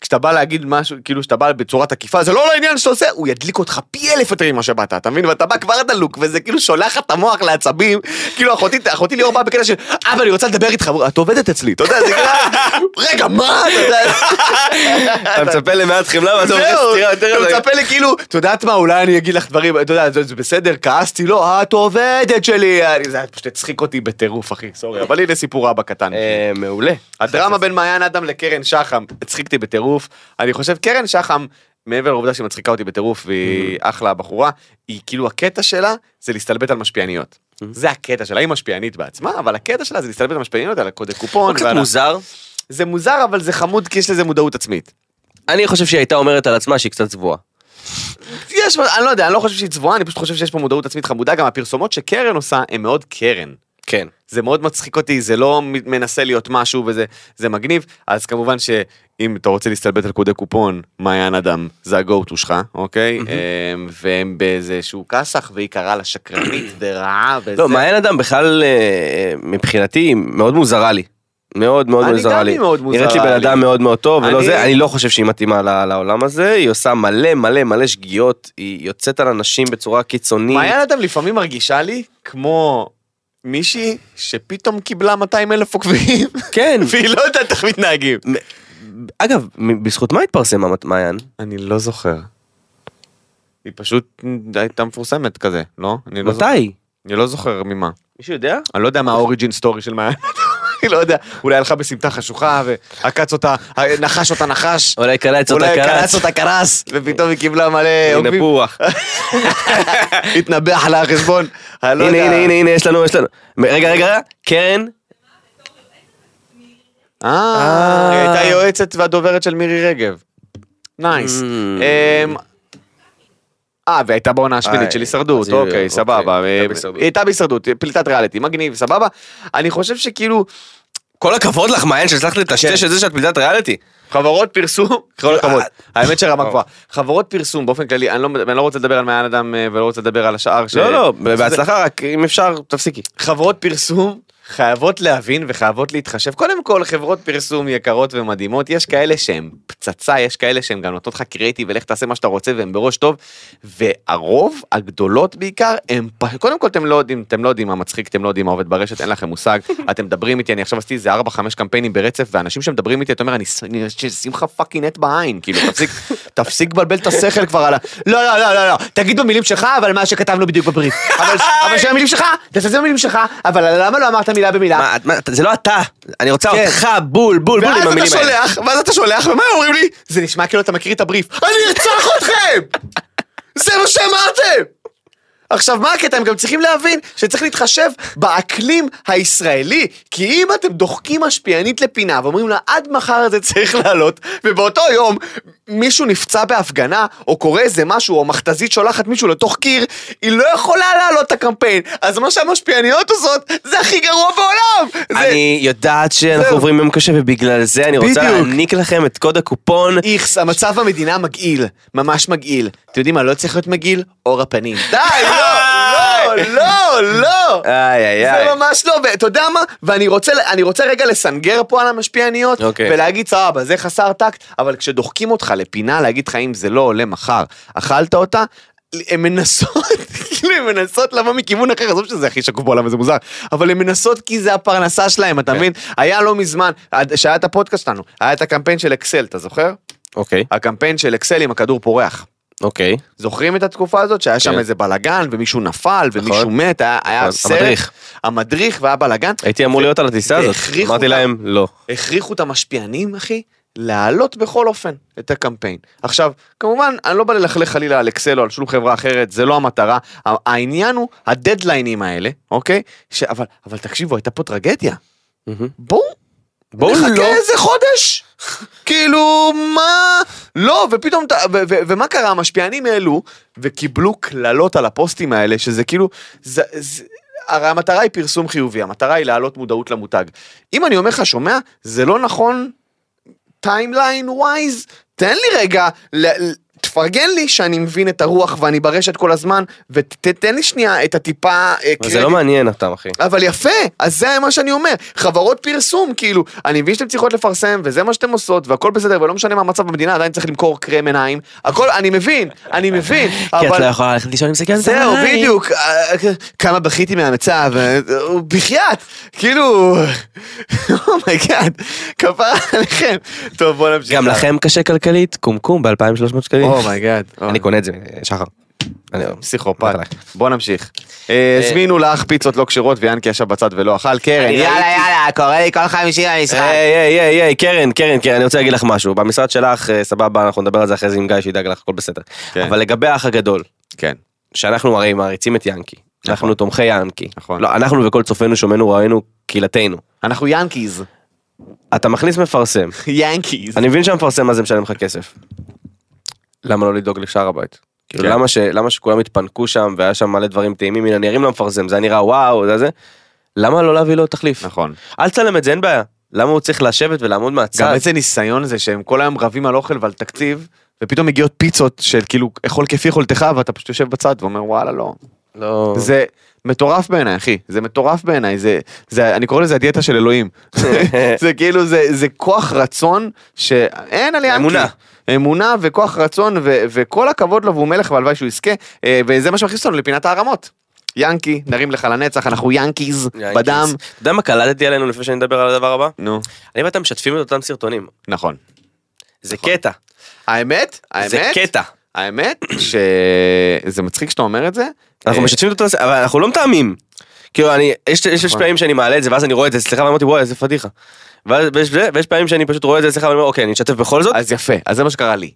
B: כשאתה בא להגיד משהו, כאילו שאתה בא בצורה תקיפה, זה לא לעניין שאתה עושה, הוא ידליק אותך פי אלף יותר ממה שבאת, אתה מבין? ואתה בא כבר דלוק, וזה כאילו שולח לך את המוח לעצבים, כאילו אחותי, אחותי ליאור באה בקטע של, אבא אני רוצה לדבר איתך, הוא, את עובדת אצלי, אתה יודע, זה כאילו, רגע מה, אתה יודע,
C: אתה מצפה למעט חמלה ואתה אומר,
B: זהו,
C: "סטירה יותר
B: אתה
C: עליי."
B: מצפה לי כאילו, את יודעת מה, אולי אני אגיד לך דברים, אתה יודע, זה זה בסדר, כעסתי, לא, את עובדת שלי, אני- זה פשוט הצחיק אותי בטירוף, אחי, סורי, אבל הנה סיפור אבא קטן.
C: אה, מעולה.
B: הדרמה בין מעיין אדם לקרן שחם, הצחיקתי בטירוף. אני חושב, קרן שחם, מעבר לעובדה שהיא מצחיקה אותי בטירוף והיא אחלה בחורה, היא כאילו הקטע שלה זה להסתלבט על משפיעניות. זה הקטע שלה, היא משפיענית בעצמה, אבל הקטע שלה זה להסתלבט על משפיעניות, על הקודי
C: הוא
B: קופון.
C: קצת
B: ועל ה-
C: מוזר.
B: זה מוזר, אבל זה חמוד כי יש לזה מודעות עצמית.
C: אני חושב שהיא הייתה אומרת על עצמה שהיא קצת צבועה.
B: יש, אני לא יודע, אני לא חושב שהיא צבועה, אני פשוט חושב שיש פה מודעות עצמית חמודה, גם הפרסומות שקרן עושה הן מאוד קרן.
C: כן.
B: זה מאוד מצחיק אותי, זה לא מ- מנסה להיות משהו וזה זה מגניב, אז כמובן שאם אתה רוצה להסתלבט על קודי קופון, מעיין אדם, זה ה-go to שלך, אוקיי? אמ, והם באיזשהו כסח, והיא קראה לה שקרנית ורעה וזה.
C: לא, מעיין אדם בכלל, אה, מבחינתי, היא מאוד מוזרה לי. מאוד מאוד
B: אני
C: מוזרה
B: גם
C: לי.
B: היא מאוד מוזרה
C: נראית לי בן
B: לי.
C: אדם מאוד מאוד טוב, ולא
B: אני-
C: זה, אני לא חושב שהיא מתאימה ל- לעולם הזה, היא עושה מלא מלא מלא שגיאות, היא יוצאת על אנשים בצורה קיצונית.
B: מעיין אדם לפעמים מרגישה לי כמו מישהי שפתאום קיבלה 200 אלף עוקבים,
C: כן.
B: והיא לא יודעת איך מתנהגים.
C: אגב, מ- בזכות מה התפרסם המת- מעיין?
B: אני לא זוכר. היא פשוט הייתה מפורסמת כזה, לא? אני לא זוכר-
C: מתי?
B: אני לא זוכר ממה.
C: מישהו יודע?
B: אני לא יודע מה האוריג'ין סטורי של מעיין. אני לא יודע, אולי הלכה בסמטה חשוכה ועקץ אותה, נחש אותה נחש,
C: אולי קלץ אותה
B: אולי
C: קלץ.
B: קרץ אותה קרס, ופתאום היא קיבלה מלא
C: הנה
B: עוקבים,
C: פוח.
B: התנבח לה החשבון, אני לא
C: הנה,
B: יודע.
C: הנה, הנה, הנה, יש לנו, יש לנו. רגע, רגע, רגע, קרן,
B: אה, היא הייתה יועצת והדוברת של מירי רגב. נייס.
C: Mm.
B: אמ, אה, והייתה בעונה
C: איי,
B: השמינית של
C: אז
B: הישרדות,
C: היא-
B: אוקיי,
C: אוקיי,
B: סבבה.
C: הייתה
B: אה,
C: בהישרדות.
B: היא הייתה בהישרדות, פליטת ריאליטי, מגניב, סבבה. אני חושב שכאילו,
C: כל הכבוד לך, מעיין, שהצלחת
B: כן.
C: לטשטש את זה שאת פליטת ריאליטי.
B: חברות פרסום, כל הכבוד, האמת שרמה
C: אה.
B: גבוהה, חברות פרסום באופן כללי, אני לא- אני לא רוצה לדבר על מעיין אדם אה, ולא רוצה לדבר על השאר, ש-
C: לא, לא,
B: זה-
C: בהצלחה, רק אם אפשר, תפסיקי.
B: חברות פרסום חייבות להבין וחייבות להתחשב. קודם כל, חברות פרסום יקרות ומדהימות, יש כאלה שהן פצצה, יש כאלה שהן גם נותנות לך קריאיטיב ולך תעשה מה שאתה רוצה והן בראש טוב, והרוב, הגדולות בעיקר, הם פ... קודם כל אתם לא יודעים, אתם לא יודעים מה מצחיק, אתם לא יודעים מה עובד ברשת, אין לכם מושג, אתם מדברים איתי, אני עכשיו עשיתי איזה 4-5 קמפיינים ברצף, ואנשים שמדברים איתי, אתה אומר, אני ש- אני אשים לך פאקינג נט בעין, כאילו, תפסיק, תפסיק לבלבל את השכל כבר על ה... לא, לא, לא, לא, לא, תגיד במילים שלך, אבל מה שכתבנו בדיוק בבריף. אבל, אבל של המילים שלך, תעשה את זה במילים שלך, אבל למה לא אמרת מילה במילה?
C: מה, את- מה, אתה- זה לא אתה, אני רוצה
B: כן.
C: אותך בול, בול, בול עם
B: ואז אתה
C: המילים האלה.
B: שולח, ואז אתה שולח, ומה הם אומרים לי? זה נשמע כאילו אתה מכיר את הבריף. אני ארצח אתכם! זה מה שאמרתם! עכשיו מה הקטע? הם גם צריכים להבין שצריך להתחשב באקלים הישראלי, כי אם אתם דוחקים משפיענית לפינה ואומרים לה עד מחר זה צריך לעלות, ובאותו יום מישהו נפצע בהפגנה, או קורה איזה משהו, או מכתזית שולחת מישהו לתוך קיר, היא לא יכולה להעלות את הקמפיין. אז מה שהמשפיעניות עושות, זה הכי גרוע בעולם! זה-
C: אני יודעת שאנחנו
B: זהו.
C: עוברים יום קשה, ובגלל זה אני רוצה
B: בדיוק.
C: להעניק לכם את קוד הקופון.
B: איכס, המצב במדינה מגעיל, ממש מגעיל. אתם יודעים מה לא צריך להיות מגעיל? אור הפנים. די, לא, לא, לא, לא.
C: איי, איי,
B: זה
C: איי.
B: ממש לא, ואתה יודע מה? ואני רוצה, אני רוצה רגע לסנגר פה על המשפיעניות,
C: אוקיי.
B: ולהגיד סבבה, זה חסר טקט, אבל כשדוחקים אותך לפינה, להגיד לך אם זה לא עולה מחר, אכלת אותה, הן מנסות, כאילו הן מנסות לבוא מכיוון אחר, עזוב שזה הכי שקוף בעולם וזה מוזר, אבל הן מנסות כי זה הפרנסה שלהן, אתה מבין? היה לא מזמן, עד- שהיה את הפודקאסט שלנו, היה את הקמפיין של אקסל, אתה זוכר?
C: אוקיי,
B: הקמפיין של אקסל עם הכדור פורח.
C: אוקיי.
B: זוכרים את התקופה הזאת שהיה שם
C: כן.
B: איזה בלאגן ומישהו נפל ומישהו מת, היה- היה
C: נכון,
B: סרט,
C: המדריך. אה.
B: המדריך והיה בלאגן,
C: הייתי אמור להיות על הטיסה הזאת,
B: והכריחו
C: אמרתי
B: אותם.
C: להם לא.
B: הכריחו את המשפיענים אחי להעלות בכל אופן את הקמפיין. עכשיו כמובן אני לא בא ללכלך חלילה על אקסל או על שום חברה אחרת זה לא המטרה ה- העניין הוא הדדליינים האלה אוקיי ש- אבל אבל תקשיבו הייתה פה טרגדיה
C: מהמם.
B: בואו
C: בואו
B: נחכה
C: לא.
B: איזה חודש. כאילו, מה? לא, ופתאום, אתה- ו- ו- ומה קרה? המשפיענים העלו וקיבלו קללות על הפוסטים האלה, שזה כאילו, זה, זה, הרי המטרה היא פרסום חיובי, המטרה היא להעלות מודעות למותג. אם אני אומר לך, שומע, זה לא נכון טיימליין ווייז, תן לי רגע, ל- ל- תפרגן לי שאני מבין את הרוח ואני ברשת כל הזמן, ותן לי שנייה את הטיפה אה,
C: אבל זה לא מעניין אותם, אחי.
B: אבל יפה, אז זה מה שאני אומר, חברות פרסום, כאילו, אני מבין שאתן צריכות לפרסם, וזה מה שאתן עושות, והכל בסדר, ולא משנה מה המצב במדינה, עדיין צריך למכור קרם עיניים, הכל, אני מבין, אני מבין, אבל...
C: לא יכולה ללכת לישון עם סכנת
B: זהו, בדיוק, אה, כמה בכיתי מהמצב, אה, הוא בחייאת, כאילו, אומייגאד, כפרה עליכם. טוב, בוא נמשיך.
C: גם לכם קשה כלכלית? קומקום ב-2300 שקלים.
B: אומייגאד. אה,
C: אני קונה את זה, שחר. אני-
B: פסיכופת.
C: בטח.
B: בוא נמשיך. אה, הזמינו לאח פיצות לא כשרות, ויאנקי ישב בצד ולא אכל, קרן, יאללה, יאללה, קורא לי כל חמישי למשחק.
C: היי, היי, היי, היי, קרן, קרן, קרן, אני רוצה להגיד לך משהו. במשרד שלך, אה, סבבה, אנחנו נדבר על זה אחרי זה עם גיא, שידאג לך, הכל בסדר.
B: כן.
C: אבל לגבי האח הגדול,
B: כן.
C: שאנחנו הרי מעריצים את ינקי. אנחנו תומכי ינקי.
B: נכון.
C: לא, אנחנו וכל צופינו, שומענו, ראינו, קהילתנו.
B: אנחנו ינקיז.
C: אתה מכניס מפרסם.
B: ינקיז.
C: אני מבין שהמפרסם הזה משלם לך כסף. למה לא לדאוג לשאר הבית? כאילו
B: כן.
C: למה, ש, למה שכולם התפנקו שם והיה שם מלא דברים טעימים, הנה אני ארים למפרסם, זה היה נראה וואו, זה זה. למה לא להביא לו תחליף?
B: נכון.
C: אל תצלם את זה, אין בעיה. למה הוא צריך לשבת ולעמוד
B: גם
C: מהצד?
B: איזה ניסיון זה שהם כל היום רבים על אוכל ועל תקציב, ופתאום מגיעות פיצות של כאילו אכול כפי יכולתך ואתה פשוט יושב בצד ואומר וואלה לא.
C: לא...
B: זה מטורף בעיניי אחי, זה מטורף בעיניי, זה, זה, אני קורא לזה הדיאטה של אלוהים. זה כאילו זה, זה כוח רצון שאין עליה אנקי.
C: אמונה.
B: אמונה וכוח רצון ו, וכל הכבוד לו והוא מלך והלוואי שהוא יזכה, אה, וזה מה שמכניס אותנו לפינת הערמות. ינקי, נרים לך לנצח, אנחנו ינקיז,
C: יאי,
B: בדם.
C: קיס. אתה יודע מה קלטתי עלינו לפני שאני אדבר על הדבר הבא?
B: נו,
C: אני ואתה משתפים את אותם סרטונים.
B: נכון.
C: זה קטע.
B: האמת, האמת,
C: זה קטע.
B: האמת שזה מצחיק שאתה אומר את זה.
C: אנחנו
B: אה,
C: משתפים את אותם, אבל אנחנו לא מתאמים. כאילו אני, יש יש- יש פעמים שאני מעלה את זה ואז אני רואה את זה אצלך ואמרתי וואי איזה פדיחה. ואז- ויש ויש פעמים שאני פשוט רואה את זה אצלך ואני אומר אוקיי אני אשתף בכל זאת.
B: אז יפה, אז זה מה שקרה לי.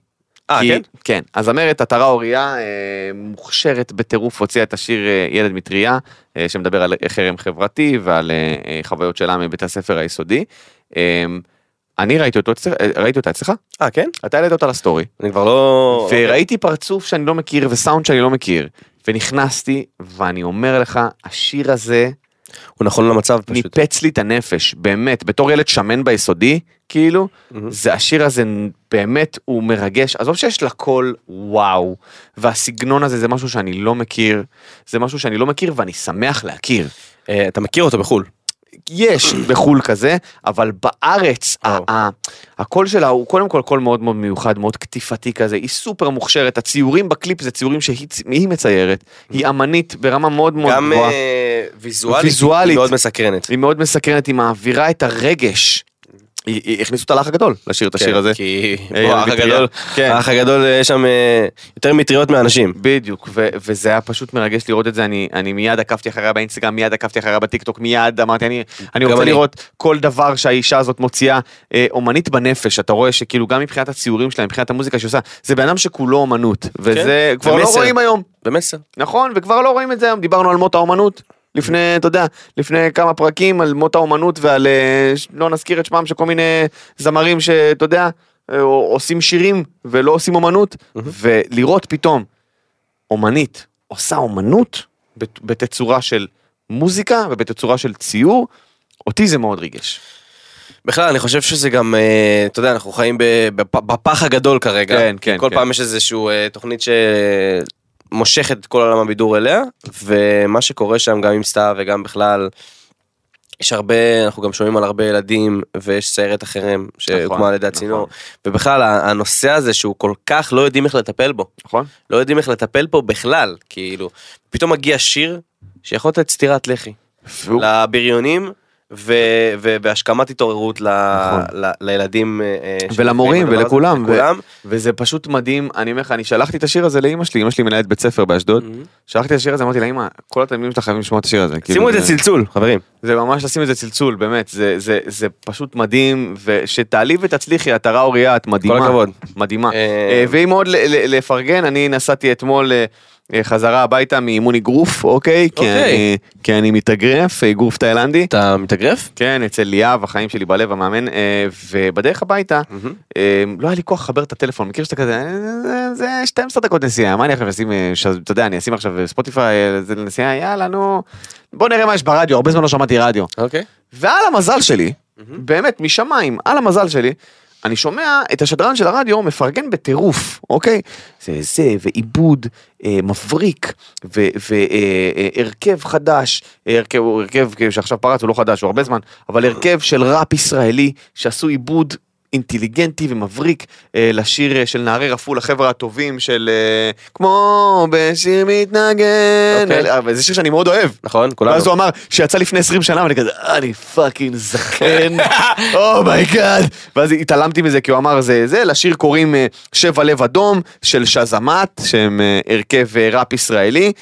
C: אה
B: כי-
C: כן?
B: כן. הזמרת עטרה אוריה אה, מוכשרת בטירוף הוציאה את השיר אה, ילד מטריה, אה, שמדבר על חרם חברתי ועל אה, אה, חוויות שלה מבית הספר היסודי. אה, אני ראיתי אותו אצלך, אה, ראיתי אותה אצלך,
C: אה כן?
B: אתה העלית אותה לסטורי.
C: אני כבר לא...
B: וראיתי פרצוף שאני לא מכיר וסאונד שאני לא מכיר. ונכנסתי, ואני אומר לך, השיר הזה
C: הוא נכון למצב פשוט.
B: ניפץ לי את הנפש, באמת, בתור ילד שמן ביסודי, כאילו,
C: מהמם.
B: זה השיר הזה נ- באמת הוא מרגש, עזוב שיש לה קול וואו, והסגנון הזה זה משהו שאני לא מכיר, זה משהו שאני לא מכיר ואני שמח להכיר.
C: אה, אתה מכיר אותו בחו"ל.
B: יש בחו"ל כזה, אבל בארץ ה- ה- הקול שלה הוא קודם כל קול מאוד מאוד מיוחד, מאוד קטיפתי כזה, היא סופר מוכשרת, הציורים בקליפ זה ציורים שהיא צ- היא מציירת, היא אמנית ברמה מאוד מאוד
C: גם
B: גבוהה.
C: אה, ויזואלית.
B: ויזואלית.
C: היא מאוד מסקרנת.
B: היא מאוד מסקרנת, היא מעבירה את הרגש. היא, היא הכניסו אותה לאח הגדול לשיר את השיר
C: כן,
B: הזה.
C: כי...
B: אה,
C: בוא, האח
B: מטריה.
C: הגדול,
B: כן.
C: האח הגדול אה, יש שם אה, יותר מטריות מאנשים.
B: בדיוק, ו- וזה היה פשוט מרגש לראות את זה, אני, אני מיד עקבתי אחריה באינסטגרם, מיד עקבתי אחריה בטיקטוק, מיד אמרתי, אני, אני רוצה
C: אני.
B: אני. לראות כל דבר שהאישה הזאת מוציאה, אה, אומנית בנפש, אתה רואה שכאילו גם מבחינת הציורים שלה, מבחינת המוזיקה שהיא עושה, זה בן אדם שכולו אומנות, וזה
C: כן,
B: כבר לא
C: ומסר.
B: רואים היום,
C: במסר.
B: נכון, וכבר לא רואים את זה היום, דיברנו על מות האומנות. לפני, אתה יודע, לפני כמה פרקים על מות האומנות ועל, אה, ש- לא נזכיר את שמם, של כל מיני זמרים שאתה יודע, אה, או- עושים שירים ולא עושים אומנות, ולראות פתאום אומנית עושה אומנות בת- בתצורה של מוזיקה ובתצורה של ציור, אותי זה מאוד ריגש.
C: בכלל אני חושב שזה גם, אה, אתה יודע, אנחנו חיים ב- בפ- בפח הגדול כרגע.
B: כן, כן,
C: כל
B: כן.
C: פעם יש איזושהי תוכנית שמושכת את כל עולם הבידור אליה, ומה שקורה שם גם עם סתיו וגם בכלל, יש הרבה, אנחנו גם שומעים על הרבה ילדים, ויש סיירת החרם שהוקמה
B: נכון,
C: על ידי
B: נכון.
C: הצינור, ובכלל ה- הנושא הזה שהוא כל כך לא יודעים איך לטפל בו,
B: נכון?
C: לא יודעים איך לטפל בו בכלל, כאילו, פתאום מגיע שיר שיכול לתת סטירת לחי. לבריונים ו- ו- והשכמת התעוררות ל-
B: נכון.
C: ל- לילדים אה, אה, שנפגעים
B: ולמורים,
C: בדבר הזה,
B: ולכולם, ו-
C: לכולם.
B: וזה פשוט מדהים, אני אומר לך, אני שלחתי את השיר הזה לאימא שלי, אימא שלי מנהלת בית ספר באשדוד, שלחתי את השיר הזה, אמרתי לה, אימא, כל התלמידים שלך חייבים לשמוע את השיר הזה.
C: שימו
B: כאילו,
C: את זה צלצול חברים.
B: זה ממש לשים את זה צלצול, באמת, זה, זה, זה פשוט מדהים, ושתעלי ותצליחי, עטרה אוריה, את מדהימה.
C: כל הכבוד.
B: מדהימה.
C: אה,
B: אה, ואם עוד ל- ל- לפרגן, אני נסעתי אתמול אה, אה, חזרה הביתה מאימון אגרוף, אוקיי? כי
C: אוקיי.
B: אני- כי אני מתאגרף, אה, אגרוף תאילנדי.
C: אתה מתאגרף?
B: כן, אצל ליאב, החיים שלי בלב, המאמן, אה, ובדרך הביתה, אה, לא היה לי כוח לחבר את הטלפון, מכיר שאתה כזה, "אה, זה- זה 12 דקות נסיעה, מה אני עכשיו אשים, אה, ש- אתה יודע, אני אשים עכשיו ספוטיפיי אה, זה לנסיעה, יאללה, נו, בוא נראה מה יש ברדיו, הרבה זמן לא שמעתי רדיו.
C: אוקיי.
B: ועל המזל שלי, באמת, משמיים, על המזל שלי, אני שומע את השדרן של הרדיו מפרגן בטירוף, אוקיי? זה זה, ועיבוד אה, מבריק, והרכב אה, אה, הרכב חדש, אה, הרכב, הוא הרכב כאילו, שעכשיו פרץ, הוא לא חדש, הוא הרבה זמן, אבל הרכב של ראפ ישראלי שעשו עיבוד אינטליגנטי ומבריק אה, לשיר אה, של נערי רפול, החבר'ה הטובים של אה, כמו בשיר מתנגן,
C: אוקיי.
B: אה, אבל זה שיר שאני מאוד אוהב.
C: נכון כולנו.
B: ואז הוא אמר שיצא לפני 20 שנה ואני כזה "אה, אני פאקינג זקן אומייגאד ואז התעלמתי מזה כי הוא אמר זה זה לשיר קוראים אה, שבע לב אדום של שזמת שהם אה, הרכב אה, ראפ ישראלי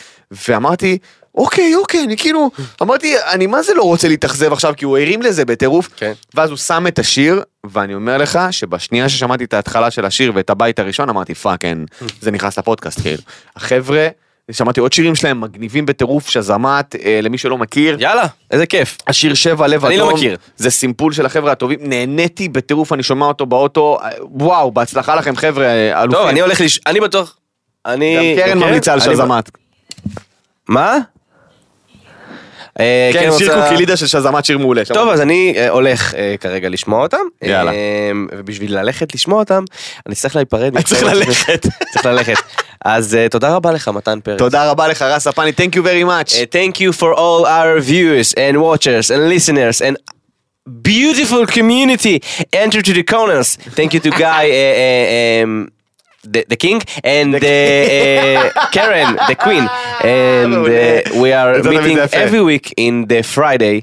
B: ואמרתי. אוקיי, אוקיי, אני כאילו, אמרתי, אני מה זה לא רוצה להתאכזב עכשיו, כי הוא הרים לזה בטירוף,
C: כן.
B: ואז הוא שם את השיר, ואני אומר לך שבשנייה ששמעתי את ההתחלה של השיר ואת הבית הראשון, אמרתי פאקינג, זה נכנס לפודקאסט, כאילו. החבר'ה, שמעתי עוד שירים שלהם מגניבים בטירוף, שזמת, אה, למי שלא מכיר.
C: יאללה איזה כיף.
B: השיר שבע לב
C: אני
B: אדום,
C: לא מכיר.
B: זה סימפול של החבר'ה הטובים, נהניתי בטירוף, אני שומע אותו באוטו, אה, וואו, בהצלחה לכם חבר'ה, אה, אלופים.
C: טוב אני הולך לש... אני בטוח. אני...
B: גם קרן ממליצה על
C: אני-
B: שזמת.
C: מה? אה,
B: כן, שיר
C: רוצה-
B: קוקילידה של שזמת שיר מעולה.
C: טוב, אז אני אה, הולך אה, כרגע לשמוע אותם.
B: יאללה.
C: אה, ובשביל ללכת לשמוע אותם, אני צריך להיפרד.
B: אני צריך ללכת.
C: צריך ללכת. אז אה, תודה רבה לך, מתן פרץ.
B: תודה רבה לך, רס הפני, thank you very much.
C: Uh, thank you for all our viewers and watchers and listeners and beautiful community. Enter to the corners. Thank you to Guy, uh, uh, um, the, the king, and uh, uh, Karen, the queen. And
B: Oh,
C: uh, we are
B: אתה תמיד
C: meeting
B: יפה.
C: every week in the Friday.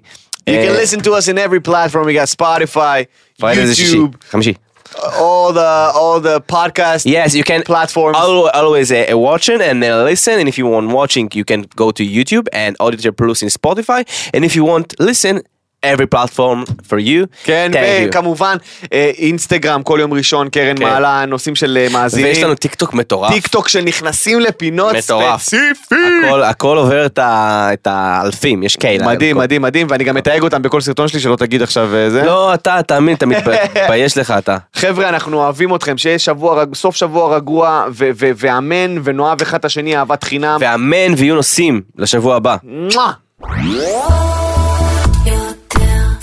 B: You can
C: Uh,
B: listen to us in every platform, we got Spotify,
C: Friday זה שישי,
B: YouTube,
C: חמישי.
B: all the, all the podcast
C: Yes, you can
B: platforms.
C: al- always uh, uh, watching and uh, listen. And if you want watching, you can go to YouTube and Auditor Plus in Spotify. And if you want listen, every platform for you.
B: כן,
C: Thank you.
B: וכמובן אה, אינסטגרם כל יום ראשון, קרן
C: כן.
B: מעלה, נושאים של אה,
C: ויש
B: מאזינים,
C: לנו טיק טוק מטורף.
B: טיק טוק שנכנסים לפינות
C: מטורף.
B: ספציפיות.
C: הכל, הכל עובר את, ה, את האלפים, יש קהילה.
B: מדהים,
C: הכל.
B: מדהים, מדהים, ואני גם מתייג אותם בכל סרטון שלי, שלא תגיד עכשיו אה, זה.
C: לא, אתה, תאמין, אתה מתבייש לך אתה.
B: חבר'ה, אנחנו אוהבים אתכם, שיהיה שבוע, רג- סוף שבוע רגוע, ו- ו- ואמן, ונאהב אחד את השני אהבת חינם.
C: ואמן ויהיו נוסעים לשבוע הבא.
B: מואה!